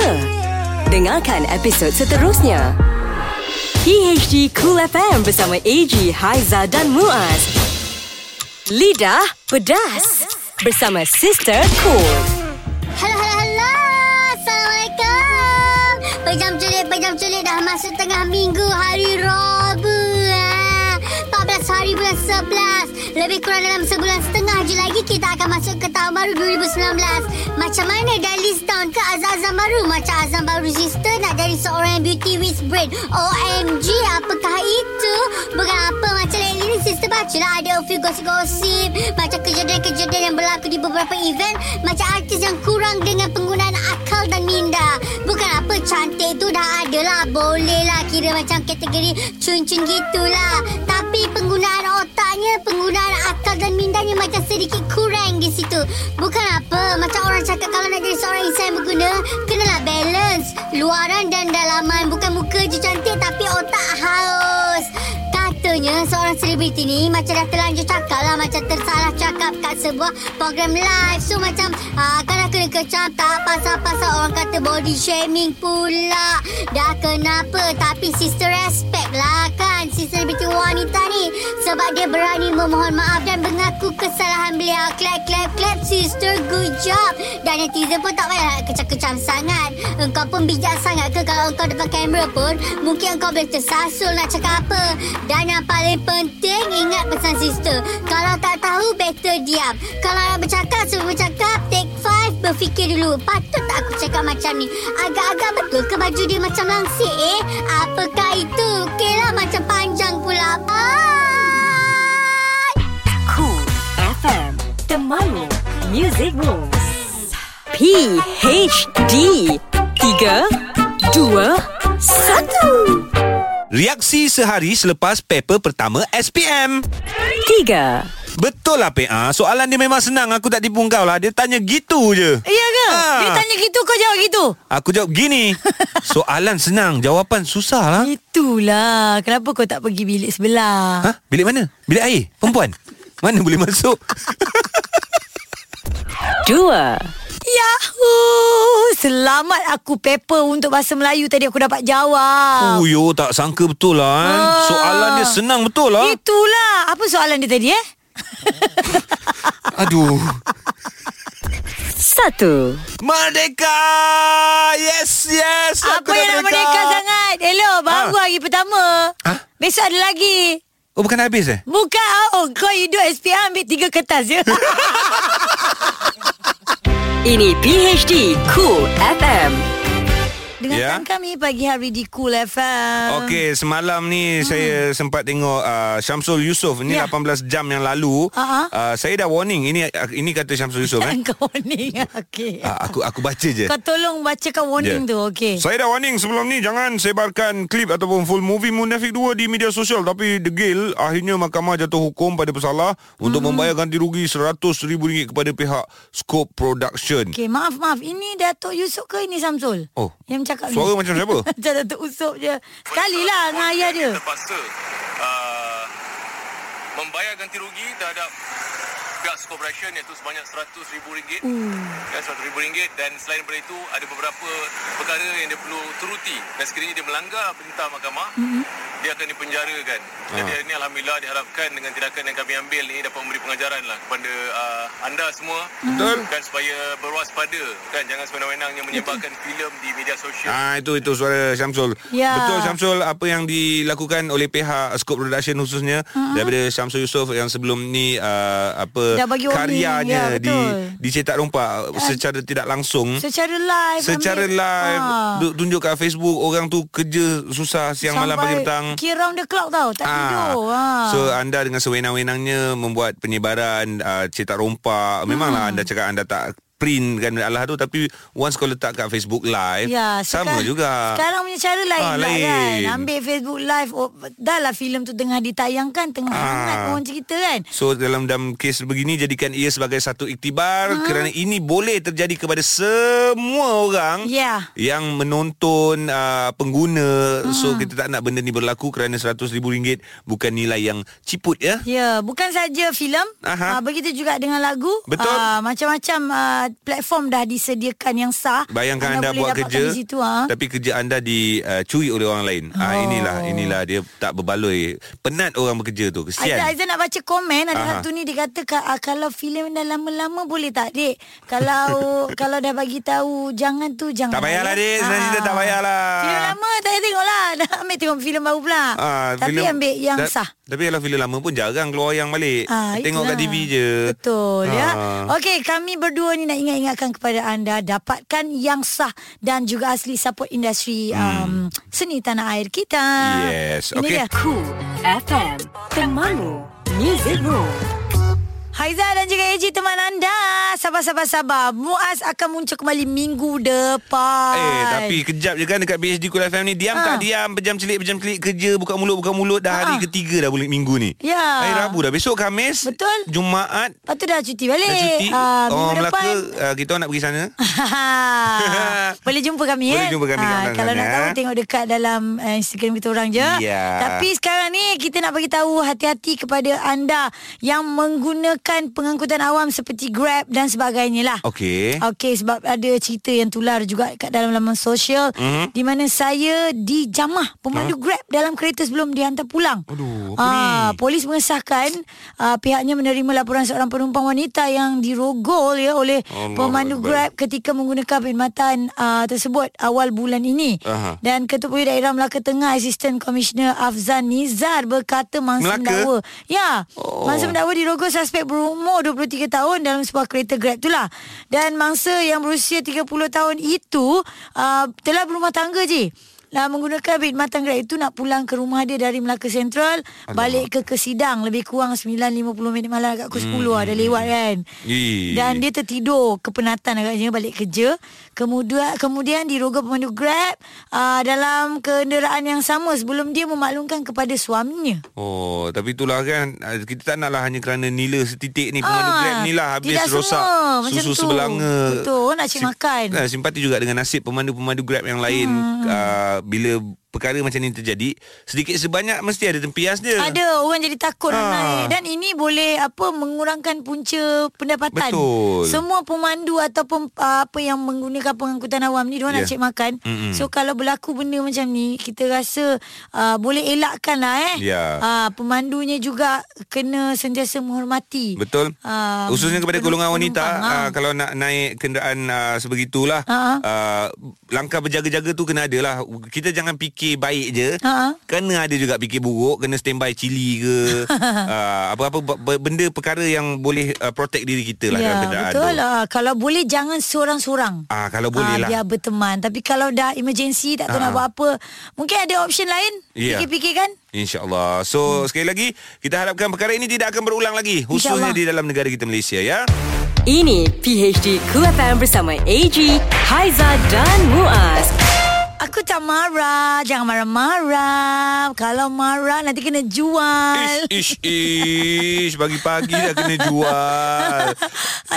S1: Dengarkan episod seterusnya. PHD Cool FM bersama AG, Haiza dan Muaz. Lidah Pedas bersama Sister Cool.
S8: Hello, hello, hello. Assalamualaikum. Pejam celik, pejam celik dah masuk tengah minggu hari Rabu. eh. 14 hari bulan 11. Lebih kurang dalam sebulan setengah je lagi kita akan masuk ke tahun baru 2019. Macam mana dah list down ke azam-azam baru? Macam azam baru sister nak jadi seorang yang beauty with brain. OMG, apakah itu? Bukan apa macam lain ni sister baca lah ada a few gosip-gosip. Macam kejadian-kejadian yang berlaku di beberapa event. Macam artis yang kurang dengan penggunaan akal dan minda. Bukan apa cantik tu dah ada lah. Boleh lah kira macam kategori cun-cun gitulah. Tapi penggunaan otaknya, penggunaan akal dan mindanya macam sedikit kurang di situ. Bukan apa, macam orang cakap kalau nak jadi seorang insan yang berguna, kenalah balance. Luaran dan dalaman bukan muka je cantik tapi otak haus. Katanya seorang selebriti ni macam dah terlanjur cakap lah Macam tersalah cakap kat sebuah program live So macam ah, kan dah kena kecam tak pasal-pasal orang kata body shaming pula Dah kenapa tapi sister respect lah kan Si selebriti wanita ni Sebab dia berani memohon maaf dan mengaku kesalahan beliau Clap clap clap sister good job Dan netizen pun tak payah nak kecam-kecam sangat Engkau pun bijak sangat ke kalau engkau depan kamera pun Mungkin engkau boleh tersasul nak cakap apa Dan yang paling penting Ingat pesan sister Kalau tak tahu Better diam Kalau nak bercakap Sebelum bercakap Take five Berfikir dulu Patut tak aku cakap macam ni Agak-agak betul ke Baju dia macam langsir eh Apakah itu Okey lah macam panjang pula Ah! Bye
S1: Cool FM Temanmu Music Rules PHD 3 2 1
S3: Reaksi sehari selepas paper pertama SPM.
S1: 3
S3: Betul lah PA. Soalan dia memang senang. Aku tak tipu kau lah. Dia tanya gitu je.
S2: Ya ke?
S3: Ha.
S2: Dia tanya gitu kau jawab gitu.
S3: Aku jawab gini. Soalan senang. Jawapan susah lah.
S2: Itulah Kenapa kau tak pergi bilik sebelah
S3: Ha? Bilik mana? Bilik air? Perempuan? Mana boleh masuk?
S1: 2
S2: Yahoo Selamat aku paper Untuk bahasa Melayu Tadi aku dapat jawab
S3: Uyo, Oh, tak sangka betul lah. Eh.
S2: Ah.
S3: Soalan dia senang betul lah.
S2: Itulah Apa soalan dia tadi eh
S3: Aduh.
S1: 1
S3: Merdeka! Yes, yes!
S2: Apa yang nak merdeka sangat Hello Baru
S3: Ha.
S2: hari pertama
S3: Ha?
S2: Besok ada lagi
S3: Oh, bukan dah habis eh?
S2: Bukan oh, Kau hidup SPM Ambil tiga kertas ya? je
S3: Ya.
S1: Ini PHD Cool FM
S2: Dengarkan
S3: Ya.
S2: kami Pagi hari di Cool FM
S3: Okey, semalam ni hmm. saya sempat tengok uh, Syamsul Yusof ni
S2: Ya. Ah,
S3: yeah. 18 jam yang lalu.
S2: Ha-ha.
S3: Uh, saya dah warning ini ini kata Syamsul Yusof eh.
S2: Kau ni Okay
S3: Uh, aku aku baca je.
S2: Kau tolong bacakan warning
S3: Ya.
S2: tu Okey
S3: Saya dah warning sebelum ni jangan sebarkan klip ataupun full movie Munafik 2 di media sosial tapi degil akhirnya mahkamah jatuh hukum pada pesalah untuk
S2: Hmm.
S3: membayar ganti rugi RM100,000 kepada pihak Scope Production.
S2: Okey, maaf maaf. Ini Datuk Yusof ke ini Samsul?
S3: Oh.
S2: Yang cakap
S3: Suara
S2: ni.
S3: macam siapa?
S2: macam Datuk Yusof je. Sekali lah dengan ayah dia.
S9: terpaksa uh, membayar ganti rugi terhadap pihak corporation iaitu sebanyak RM100,000 ya, RM100,000 dan selain daripada itu ada beberapa perkara yang dia perlu turuti dan sekiranya dia melanggar perintah mahkamah dia akan dipenjarakan jadi hari ini Alhamdulillah diharapkan dengan tindakan yang kami ambil ini dapat memberi pengajaran lah kepada uh, anda semua
S3: Betul.
S9: kan supaya berwaspada kan jangan sewenang-wenangnya menyebarkan filem di media sosial
S3: Ah itu itu suara Syamsul.
S2: Ya.
S3: Betul Syamsul apa yang dilakukan oleh pihak Scope Production khususnya uh-huh. daripada Syamsul Yusof yang sebelum ni uh, apa
S2: Dah bagi warning. Ya,
S3: karyanya di
S2: betul. Eh.
S3: dicetak rompak secara tidak langsung.
S2: Secara live.
S3: Secara
S2: ambil-
S3: live
S2: Ha.
S3: ha. Tunjuk kat Facebook Orang tu kerja Susah siang Sampai malam
S2: Sampai
S3: pagi petang
S2: Kira round the clock tau. Tak tidur. Ha.
S3: So anda dengan sewenang-wenangnya Membuat penyebaran uh, Cetak rompak
S2: Mm.
S3: Memanglah anda cakap Anda tak print kan Allah tu Tapi once kau letak kat Facebook live
S2: Ya,
S3: Sama
S2: sekarang-
S3: juga
S2: Sekarang punya cara lain,
S3: Ah,
S2: ha, lain. kan.
S3: lain.
S2: Ambil Facebook live. Oh, dah lah filem tu tengah ditayangkan. Tengah ha.
S3: Ah.
S2: hangat orang cerita kan.
S3: So dalam dalam kes begini jadikan ia sebagai satu iktibar hmm. kerana ini boleh terjadi kepada semua orang
S2: Ya.
S3: yang menonton uh, pengguna. Hmm. So kita tak nak benda ni berlaku kerana RM100,000 bukan nilai yang ciput ya.
S2: Ya, bukan saja filem,
S3: Aha.
S2: uh, begitu juga dengan lagu.
S3: Betul.
S2: Ah, macam-macam uh, dah platform dah disediakan yang sah.
S3: Bayangkan anda, anda
S2: boleh
S3: buat
S2: dapatkan
S3: kerja
S2: di situ ha.
S3: tapi kerja anda dicuri oleh orang lain. Oh. Ah inilah inilah dia tak berbaloi. Penat orang bekerja tu. Kesian.
S2: Aizan, Aizan nak baca komen Ada
S3: Aha.
S2: satu ni dia kata "Ka- ah, Kalau filem dah lama-lama boleh tak Dek Kalau kalau dah bagi tahu Jangan tu jangan ya." Ah.
S3: Tak payahlah, Dek. Senang cerita, tak payahlah.
S2: Filem lama tak payah tengok lah Dah ambil tengok filem baru pula
S3: Ah,
S2: Tapi
S3: filem-
S2: ambil yang
S3: da-
S2: sah
S3: Tapi kalau filem lama pun jarang keluar yang balik.
S2: Ah,
S3: eh, Tengok kat
S2: itulah.
S3: TV je.
S2: Betul ya.
S3: Ah.
S2: Okey, kami berdua ni nak ingat-ingatkan kepada anda dapatkan yang sah dan juga asli support industri um, seni tanah air kita.
S3: Hmm. Yes,
S2: Ini
S3: okey.
S2: dia.
S1: Cool FM Temanmu Music Room
S2: Haiza dan juga Eji teman anda. Sabar sabar sabar. Muaz akan muncul kembali minggu depan.
S3: Eh tapi kejap je kan dekat PhD Kul FM ni diam
S2: Ah.
S3: ha. tak diam pejam celik pejam celik kerja buka mulut buka mulut dah hari
S2: Ah.
S3: ketiga dah bulan minggu ni.
S2: Ya.
S3: Hari Rabu dah besok Khamis.
S2: Betul.
S3: Jumaat
S2: Lepas tu dah cuti balik.
S3: dah cuti.
S2: Ah, minggu
S3: Orang Melaka
S2: depan.
S3: ah, kita orang nak pergi sana.
S2: Boleh jumpa kami
S3: Boleh
S2: eh?
S3: jumpa kami kat
S2: Ah, Kalau
S3: sana,
S2: nak tahu
S3: eh.
S2: Tengok dekat dalam uh, Instagram kita orang je
S3: Ya.
S2: Tapi sekarang ni Kita nak bagi tahu Hati-hati kepada anda Yang menggunakan Pengangkutan awam Seperti Grab Dan sebagainya lah
S3: Okey.
S2: Okey sebab ada cerita yang tular juga kat dalam laman sosial
S3: Mhm.
S2: mm-hmm. di mana saya dijamah pemandu Grab dalam kereta sebelum dihantar pulang.
S3: Aduh, apa
S2: Ah,
S3: ni?
S2: polis mengesahkan ah, pihaknya menerima laporan seorang penumpang wanita yang dirogol ya oleh
S3: Allah
S2: pemandu
S3: Akbar.
S2: Grab Grab ketika menggunakan perkhidmatan uh, tersebut awal bulan ini.
S3: Aha.
S2: Dan Ketua Polis Daerah Melaka Tengah Asisten Komisioner Afzan Nizar berkata mangsa
S3: Melaka?
S2: mendakwa. Ya, oh.
S3: Oh.
S2: mangsa mendakwa dirogol suspek berumur 23 tahun dalam sebuah kereta Grab itulah. Dan mangsa yang berusia 30 tahun itu uh, telah berumah tangga je. Lah menggunakan perkhidmatan Grab itu nak pulang ke rumah dia dari Melaka Sentral balik ke Kesidang lebih kurang 9.50 minit malam agak pukul 10 hmm. dah lewat kan.
S3: Ih.
S2: Dan dia tertidur kepenatan agaknya balik kerja. Kemudian kemudian diroga pemandu Grab uh, dalam kenderaan yang sama sebelum dia memaklumkan kepada suaminya.
S3: Oh, tapi itulah kan ah, kita tak naklah hanya kerana nila setitik ni pemandu
S2: Ah,
S3: Grab ni lah habis
S2: tidak
S3: rosak
S2: semua macam
S3: susu
S2: tu.
S3: sebelanga.
S2: Betul, orang nak cari makan.
S3: ah, Simpati juga dengan nasib pemandu-pemandu Grab yang lain hmm. uh, bila perkara macam ni terjadi, sedikit sebanyak mesti ada tempias dia.
S2: Ada orang jadi takut nak
S3: Ah.
S2: naik dan ini boleh apa mengurangkan punca pendapatan.
S3: Betul.
S2: Semua pemandu ataupun uh, apa yang menggunakan pengangkutan awam ni dia yeah. nak
S3: Ya.
S2: cek makan. Mm-hmm. So kalau berlaku benda macam ni kita rasa uh, boleh elakkan lah eh.
S3: Ya.
S2: Uh, pemandunya juga kena sentiasa menghormati.
S3: Betul.
S2: Ah,
S3: Um, Khususnya kepada golongan wanita
S2: penumpang, ah.
S3: uh, kalau nak naik kenderaan uh, sebegitulah
S2: Ah,
S3: uh-huh. uh, langkah berjaga-jaga tu kena ada lah. Kita jangan fikir baik je.
S2: Ah, ah.
S3: Kena ada juga fikir buruk, kena standby cili ke uh, apa-apa b- b- benda perkara yang boleh uh, protect diri kita lah dalam kenderaan
S2: Ya, betul
S3: tu.
S2: lah. Kalau boleh jangan seorang-seorang.
S3: Ah, kalau boleh
S2: Ah,
S3: lah.
S2: Biar berteman. Tapi kalau dah emergency tak tahu nak
S3: Ah.
S2: buat apa, mungkin ada option lain.
S3: Ya.
S2: Fikir-fikir kan?
S3: InsyaAllah So hmm. sekali lagi Kita harapkan perkara ini Tidak akan berulang lagi Khususnya
S2: InsyaAllah.
S3: di dalam negara kita Malaysia ya
S1: Ini PHD Cool FM bersama AG, Haiza dan Muaz.
S2: Aku tak marah. Jangan marah-marah. Kalau marah nanti kena jual.
S3: Ish ish ish Pagi-pagi dah kena jual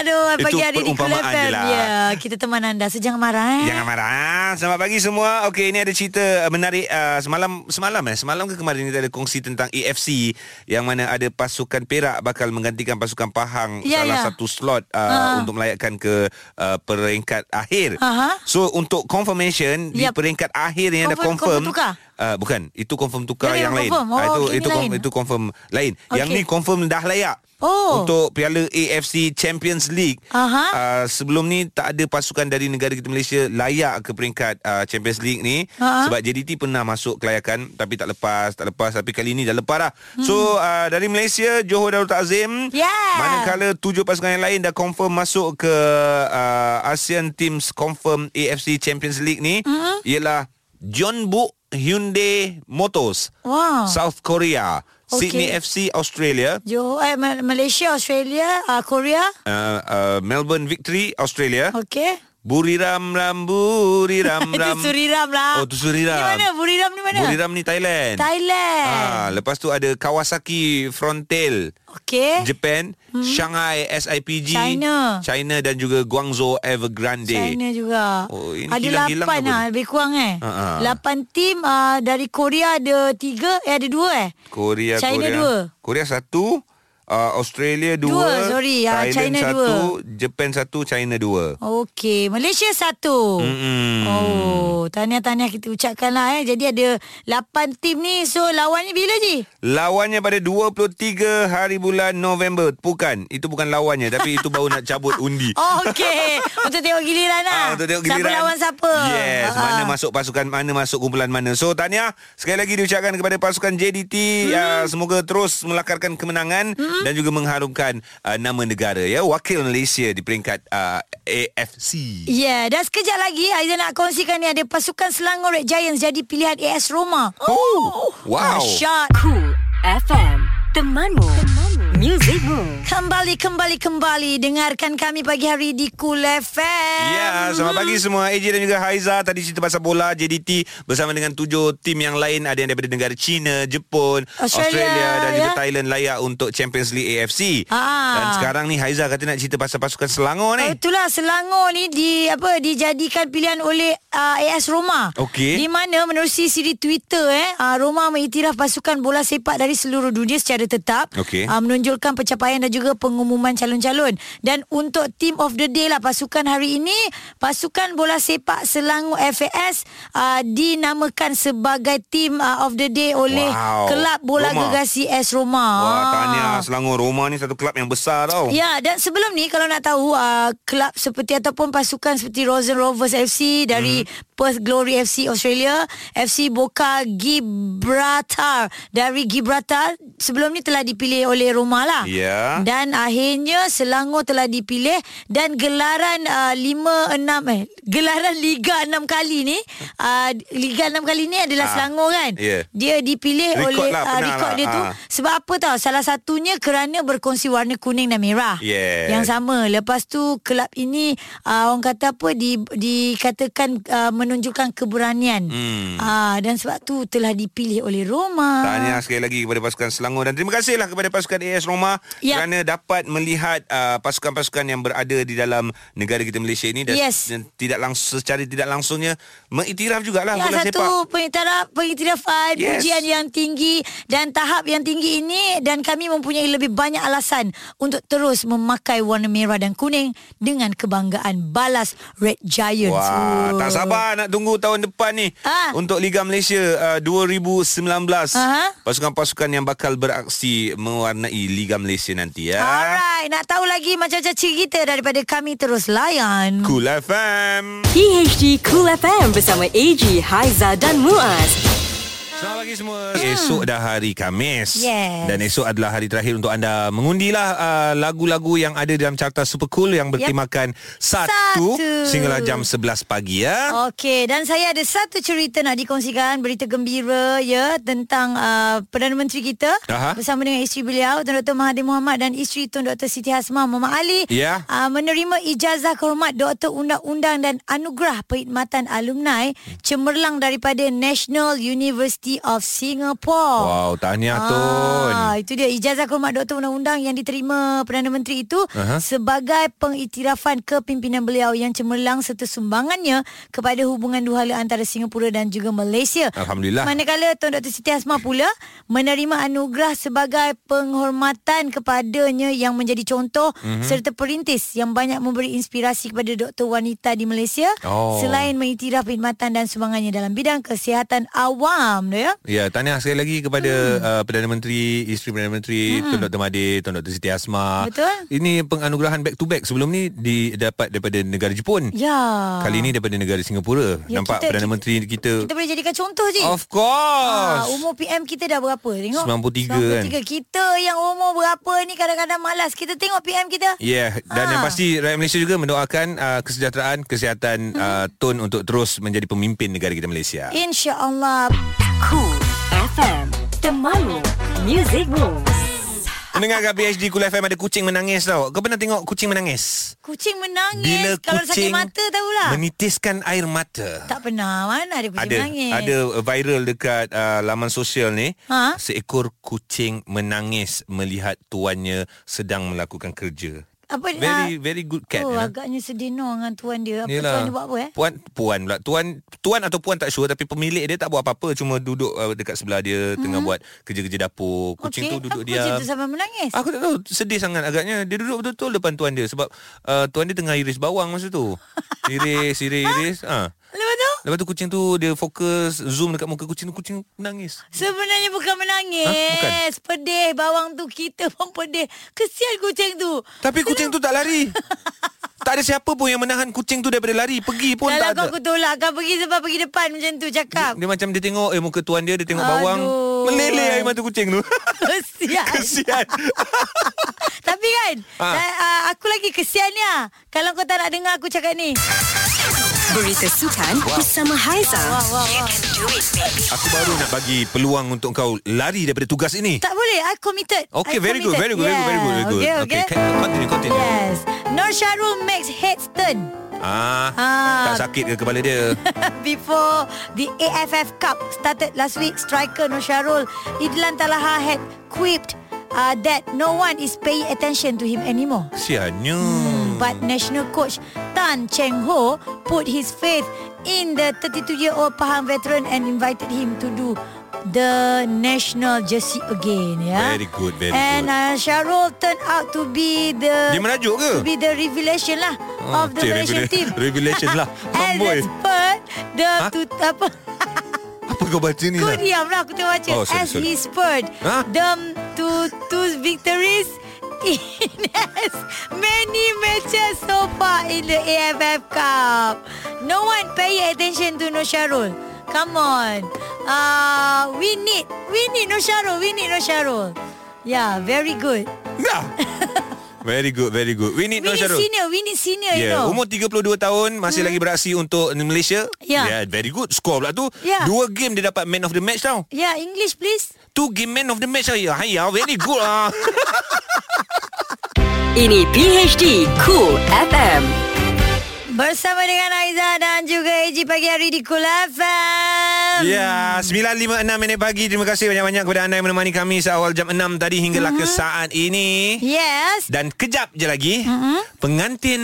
S2: Aduh,
S3: Itu
S2: pagi hari di Kul
S3: perumpamaan je
S2: FM.
S3: lah.
S2: Ya, kita teman anda. So jangan marah eh.
S3: Jangan marah. ah. Selamat pagi semua. Okey, ini ada cerita uh, menarik uh, semalam semalam eh semalam ke kemarin kita ada kongsi tentang AFC yang mana ada pasukan Perak bakal menggantikan pasukan Pahang
S2: Ya,
S3: salah
S2: ya. ha.
S3: satu slot uh, untuk melayakkan ke uh, peringkat akhir.
S2: Aha.
S3: So untuk confirmation
S2: Ha,
S3: di
S2: Yap.
S3: peringkat akhir yang dah
S2: Confirm-
S3: confirm.
S2: confirm tukar?
S3: Uh, bukan, itu confirm tukar
S2: Ya, ya,
S3: yang lain.
S2: confirm. Oh,
S3: Ah, itu
S2: okey,
S3: itu
S2: ni
S3: confirm,
S2: lain.
S3: itu confirm lain. Yang
S2: Okey.
S3: ni confirm dah layak.
S2: Oh.
S3: Untuk Piala AFC Champions League.
S2: Aha.
S3: Uh, sebelum ni tak ada pasukan dari negara kita Malaysia layak ke peringkat uh, Champions League ni
S2: Ha.
S3: sebab JDT pernah masuk kelayakan tapi tak lepas tak lepas tapi kali ni dah lepas dah. Hmm. So uh, dari Malaysia Johor Darul Takzim
S2: Yeah.
S3: manakala tujuh pasukan yang lain dah confirm masuk ke uh, ASEAN Teams confirm AFC Champions League ni hmm. ialah John Book Hyundai Motors
S2: Wow.
S3: South Korea
S2: Oh. Okay.
S3: Sydney FC Australia
S2: Johor, eh, Ma- Malaysia, Australia, uh, Korea.
S3: uh, uh, Melbourne Victory Australia
S2: Okey.
S3: Buriram ram buriram
S2: Itu
S3: ram.
S2: Suriram lah.
S3: Oh tu Suriram.
S2: Ni mana? Buriram ni mana?
S3: Buriram ni Thailand. Ah,
S2: Thailand.
S3: lepas tu ada Kawasaki Frontail.
S2: Okey.
S3: Japan, hmm. Shanghai
S2: Eh.
S3: SIPG,
S2: China.
S3: China dan juga Guangzhou Evergrande.
S2: China juga.
S3: Oh, ini
S2: ada
S3: hilang-hilang
S2: lapan
S3: apa
S2: lah,
S3: ni?
S2: lebih kurang eh.
S3: Ha, ha.
S2: Lapan tim uh, dari Korea ada tiga, eh ada dua eh.
S3: Korea
S2: China
S3: Korea.
S2: dua.
S3: Korea satu, uh, Australia
S2: Dua,
S3: dua,
S2: sorry. Ah,
S3: Thailand
S2: China
S3: satu,
S2: dua.
S3: Japan satu, China dua. Hmm.
S2: Okey, Malaysia satu.
S3: Mm-mm.
S2: Oh, tahniah-tahniah kita ucapkan lah eh. Jadi ada 8 tim ni. So, lawannya bila je?
S3: Lawannya pada 23 hari bulan November. Bukan, itu bukan lawannya tapi itu baru nak cabut undi.
S2: Oh, okey. untuk tengok giliran lah.
S3: Ah, untuk tengok giliran.
S2: Siapa lawan siapa.
S3: Yes,
S2: Ah,
S3: mana
S2: ah.
S3: masuk pasukan mana masuk kumpulan mana. So tahniah sekali lagi diucapkan kepada pasukan JDT hmm. uh, semoga terus melakarkan kemenangan hmm. dan juga mengharumkan uh, nama negara ya wakil Malaysia di peringkat uh, AFC.
S2: Ya, yeah, dan sekejap lagi Aiza nak kongsikan ni ada pasukan Selangor Red Giants jadi pilihan AS Roma.
S3: Oh, wow.
S2: Shot.
S1: Cool FM Temanmu, Temanmu. Musicmu
S2: Kembali, kembali, kembali. Dengarkan kami pagi hari di Cool FM.
S3: Ya,
S2: Hmm.
S3: selamat pagi semua AJ dan juga Haiza Tadi cerita pasal bola JDT Bersama dengan tujuh tim yang lain Ada yang daripada negara China, Jepun,
S2: Australia,
S3: Australia, Dan juga
S2: ya.
S3: Thailand layak untuk Champions League AFC
S2: Ah.
S3: Dan sekarang ni Haiza kata nak cerita pasal pasukan Selangor ni
S2: Oh, itulah Selangor ni di apa dijadikan pilihan oleh uh, AS Roma.
S3: Okey.
S2: Di mana menerusi siri Twitter eh uh, Roma mengiktiraf pasukan bola sepak dari seluruh dunia secara tetap
S3: Okey.
S2: uh, menonjolkan pencapaian dan juga pengumuman calon-calon. Dan untuk team of the day lah pasukan hari ini pasukan bola sepak Selangor FAS uh, dinamakan sebagai team uh, of the day oleh
S3: Wow.
S2: kelab bola
S3: Roma.
S2: gegasi AS Roma.
S3: Wah,
S2: Ah.
S3: tahniah Selangor Roma ni satu klub yang besar tau
S2: Ya, dan sebelum ni kalau nak tahu uh, klub seperti ataupun pasukan seperti Rosen Rovers FC dari
S3: Hmm.
S2: mm. Perth Glory FC Australia, FC Boca Gibraltar dari Gibraltar sebelum ni telah dipilih oleh Roma lah.
S3: Ya.
S2: Dan akhirnya Selangor telah dipilih dan gelaran uh, 5 6 eh gelaran Liga 6 kali ni uh, Liga 6 kali ni adalah
S3: Ah,
S2: Selangor kan.
S3: ya.
S2: Dia dipilih
S3: Rekod
S2: oleh
S3: lah,
S2: uh,
S3: pernah
S2: rekod
S3: lah,
S2: dia tu
S3: ah.
S2: sebab apa tau Salah satunya kerana berkongsi warna kuning dan merah
S3: Yes.
S2: Yang sama Lepas tu kelab ini uh, Orang kata apa di, Dikatakan uh, menunjukkan keberanian
S3: Hmm.
S2: uh, Dan sebab tu telah dipilih oleh Roma
S3: Tahniah sekali lagi kepada pasukan Selangor dan terima kasihlah kepada pasukan AS Roma
S2: Ya.
S3: kerana dapat melihat uh, pasukan-pasukan yang berada di dalam negara kita Malaysia ini dan,
S2: Yes.
S3: dan tidak langsung secara tidak langsungnya mengiktiraf jugalah
S2: Ya,
S3: bola
S2: satu
S3: sepak.
S2: pengiktiraf, pengiktirafan, yes.
S3: Yes.
S2: pujian yang tinggi dan tahap yang tinggi ini dan kami mempunyai lebih banyak alasan untuk terus memakai warna merah dan kuning dengan kebanggaan balas Red Giants.
S3: Wah,
S2: Oh.
S3: tak sabar nak tunggu tahun depan ni
S2: Ah.
S3: untuk Liga Malaysia uh, 2019.
S2: Aha.
S3: Pasukan-pasukan yang bakal beraksi mewarnai Liga Malaysia nanti ya.
S2: Alright, nak tahu lagi macam-macam cerita daripada kami terus layan.
S3: Cool FM.
S1: PHD Cool FM bersama AG, Haiza dan Muaz
S3: Selamat pagi semua. Esok dah hari Khamis.
S2: Ah. Yes.
S3: Dan esok adalah hari terakhir untuk anda mengundilah uh, lagu-lagu yang ada dalam carta Super Cool yang bertemakan satu,
S2: Satu. Oh.
S3: sehinggalah jam 11 pagi ya.
S2: Okey, dan saya ada satu cerita nak dikongsikan, berita gembira ya tentang uh, Perdana Menteri kita
S3: Aha.
S2: bersama dengan isteri beliau Tun Dr. Mahathir Mohamad dan isteri Tun Dr. Siti Hasmah Muhammad Ali
S3: Ya.
S2: uh, menerima ijazah kehormat Doktor Undang-Undang dan Anugerah Perkhidmatan Alumni
S3: Hmm.
S2: cemerlang daripada National University of Singapore.
S3: Wow, tahniah Tun.
S2: Ah, itu dia ijazah kehormat Doktor Undang-Undang yang diterima Perdana Menteri itu uh-huh. sebagai pengiktirafan kepimpinan beliau yang cemerlang serta sumbangannya kepada hubungan duhala antara Singapura dan juga Malaysia.
S3: Alhamdulillah.
S2: Manakala Tuan Dr. Siti Hasmah pula menerima anugerah sebagai penghormatan kepadanya yang menjadi contoh
S3: Mhm.
S2: mm-hmm. serta perintis yang banyak memberi inspirasi kepada doktor wanita di Malaysia
S3: Oh.
S2: selain mengiktiraf khidmatan dan sumbangannya dalam bidang kesihatan awam dia.
S3: Ya, tahniah sekali lagi kepada hmm. uh, Perdana Menteri, isteri Perdana Menteri, hmm. Tun Dr. Mahathir, Tun Dr. Siti Asma.
S2: Betul.
S3: Ini penganugerahan back to back. Sebelum ni didapat daripada negara Jepun.
S2: Ya.
S3: Kali ni daripada negara Singapura.
S2: Ya,
S3: Nampak
S2: kita-
S3: Perdana
S2: kita-
S3: Menteri kita,
S2: Kita boleh jadikan contoh je.
S3: Of course.
S2: Ah, umur PM kita dah berapa? Tengok.
S3: 93
S2: 93. Kita yang umur berapa ni kadang-kadang malas. Kita tengok PM kita.
S3: Yeah,
S2: Ha.
S3: dan ha. yang pasti rakyat Malaysia juga mendoakan uh, kesejahteraan, kesihatan uh,
S2: Mm-hmm.
S3: Tun untuk terus menjadi pemimpin negara kita Malaysia.
S2: InsyaAllah.
S1: Cool FM Temanmu, Musicmu
S3: Mendengarkan PhD Kul FM ada kucing menangis tau. Kau pernah tengok kucing menangis?
S2: Kucing menangis.
S3: Bila
S2: Kalau sakit
S3: kucing
S2: mata tahulah.
S3: menitiskan air mata.
S2: tak pernah. Mana ada kucing
S3: ada
S2: menangis.
S3: ada viral dekat uh, laman sosial ni
S2: Ha?
S3: seekor kucing menangis melihat tuannya sedang melakukan kerja.
S2: apa
S3: Very very good
S2: ah,
S3: cat.
S2: Oh,
S3: you know.
S2: agaknya sedih no dengan tuan dia. Apa
S3: Yelah.
S2: tuan dia buat apa eh?
S3: Puan puan pula. Tuan tuan atau puan tak sure tapi pemilik dia tak buat apa-apa cuma duduk uh, dekat sebelah dia
S9: Mhm.
S3: hmm. tengah buat kerja-kerja dapur. Kucing
S2: Okey,
S3: tu
S2: apa
S3: duduk
S2: Kucing
S3: diam.
S2: tu sampai menangis.
S3: Aku tak tahu sedih sangat agaknya dia duduk betul-betul depan tuan dia sebab uh, tuan dia tengah iris bawang masa tu. Iris, iris, iris. Ha.
S2: Lepas tu
S3: Lepas tu kucing tu dia fokus zoom dekat muka kucing tu kucing menangis.
S2: Sebenarnya bukan menangis
S3: Ha? Bukan.
S2: Pedih Bawang tu kita pun pedih Kesian kucing tu
S3: Tapi kucing tu tak lari. tak ada siapa pun yang menahan kucing tu daripada lari. Pergi pun
S2: Kalau
S3: tak ada.
S2: kau aku tolak Kau pergi sebab pergi depan Macam tu cakap
S3: Dia macam dia tengok eh muka tuan dia dia tengok bawang.
S2: Aduh.
S3: Meleleh air mata kucing tu.
S2: Kesian
S3: Kesian.
S2: Tapi kan
S3: Ha.
S2: saya- ah, Aku lagi kesian ya Kalau kau tak nak dengar aku cakap ni
S1: Berita sukan bersama Haiza.
S2: Wah wah wah
S3: Aku baru nak bagi peluang untuk kau lari daripada tugas ini.
S2: Tak boleh I committed I
S3: Okay, very good, very
S2: committed.
S3: good, very good, very good,
S2: Yeah,
S3: very good.
S2: Okay, okay,
S3: can- continue, continue.
S2: Yes Nur Syarul makes heads turn
S3: Ah,
S2: Ah.
S3: tak sakit ke kepala dia?
S2: before the AFF Cup started last week, striker Nur Syarul Idlan Talaha had quipped uh, that no one is paying attention to him anymore.
S3: Siannya.
S2: But national coach Tan Cheng Ho put his faith in the 32-year-old Pahang veteran and invited him to do the national jersey again. Yeah?
S3: Very good, very
S2: and,
S3: good.
S2: uh, Syarul turned out to be the
S3: Dia merajuk ke?
S2: to be the revelation lah
S3: Ah,
S2: of the
S3: cik,
S2: Malaysian
S3: revela-
S2: team.
S3: revelation lah.
S2: and
S3: Amboi.
S2: the spurt the
S3: Ha?
S2: to, apa?
S3: Apa kau baca ni?
S2: Kau
S3: Lah?
S2: diam lah aku tengah baca.
S3: Oh, sorry,
S2: As
S3: sorry.
S2: he spurred
S3: Ha?
S2: them to two victories in as many matches so far in the AFF Cup. No one pay attention to Nur Syarul. Come on. Uh, we need, we need Nur Syarul. We need Nur Syarul. Yeah, very good.
S3: Nah. Very good, very good. We need
S2: We
S3: Nur
S2: need
S3: Syarul.
S2: senior. We need senior, you
S3: Ya,
S2: know.
S3: yeah, umur 32 tahun masih hmm. lagi beraksi untuk Malaysia.
S2: Ya.
S3: yeah, very good. Skor pula tu.
S2: Ya.
S3: Dua game dia dapat man of the match tau.
S2: yeah, English please.
S3: Tu game man of the match tau. Ya, ya, very good lah.
S1: Ini PHD Cool FM.
S2: Bersama dengan Aiza dan juga Eji pagi hari di Kul FM.
S3: Ya, 9.56 minit pagi. Terima kasih banyak-banyak kepada anda yang menemani kami seawal jam 6 tadi hinggalah
S2: Mhm.
S3: mm-hmm. ke saat
S2: Ya.
S3: ini.
S2: Yes.
S3: Dan kejap je lagi,
S2: Mhm.
S3: mm-hmm. pengantin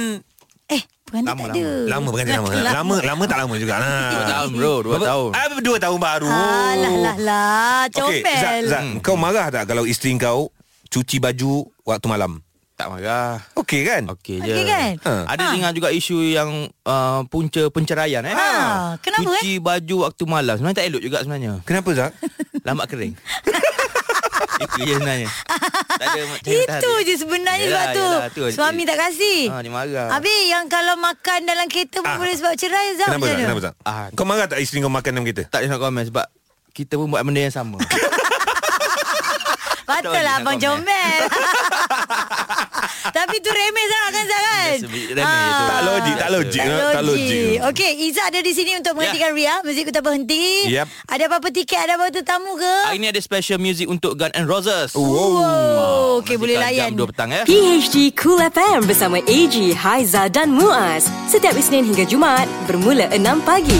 S2: Eh, pengantin tak ada.
S3: lama. Lama pengantin lama. Lama lama tak lama juga. Ha.
S4: Dua tahun bro Dua
S3: Berapa-
S4: tahun
S3: Ah, dua tahun baru.
S2: Alah lah lah,
S3: Oh. Okey, Zat,
S2: comel.
S3: Zat, kau marah tak kalau isteri kau cuci baju waktu malam?
S10: Tak marah.
S3: Okey kan?
S10: Okey je.
S2: Okey kan?
S3: Ha.
S10: Ada dengar juga isu yang uh, punca penceraian eh.
S2: Ha, kenapa,
S10: Cuci baju waktu malam. Sebenarnya tak elok juga sebenarnya.
S3: Kenapa Zak?
S10: Lamat kering. Itu je sebenarnya. Tak ada macam
S2: Itu je sebenarnya sebab
S10: Yelah,
S2: tu.
S10: yelah, tu.
S2: Suami tak kasih.
S10: Ha, dia marah.
S2: Habis yang kalau makan dalam kereta pun
S3: Ah.
S2: boleh sebab cerai Zat macam
S3: Kenapa Zak?
S2: mana?
S3: Kenapa Zak?
S10: Ah.
S3: Kau marah tak isteri kau makan dalam kereta?
S10: Tak ada nak komen sebab kita pun buat benda yang sama.
S2: Patutlah
S10: Tak boleh
S2: abang
S10: nak
S2: comel. Tapi tu remeh sangat kan Zat kan?
S10: Biasa remeh
S2: Ah.
S10: tu.
S3: Tak logik, tak logik. eh,
S2: Tak
S3: Tak logik. Ya.
S2: logik. Okey, Izzah ada di sini untuk menggantikan Ria. Muzik kita berhenti.
S3: Yap.
S2: Ada apa-apa tiket, ada apa-apa tetamu ke?
S10: Hari ni ada special music untuk Gun and Roses.
S2: Wow. Okey,
S10: Nantikan
S2: boleh layan.
S10: Jam 2 petang
S4: Eh?
S10: ya.
S1: PHD Cool FM bersama AG, Haiza dan Muaz. Setiap Isnin hingga Jumaat bermula 6 pagi.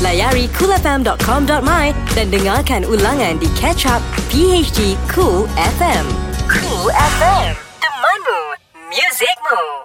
S1: Layari coolfm.com.my dan dengarkan ulangan di catch up PHD Cool FM. Cool FM, temanmu, muzikmu.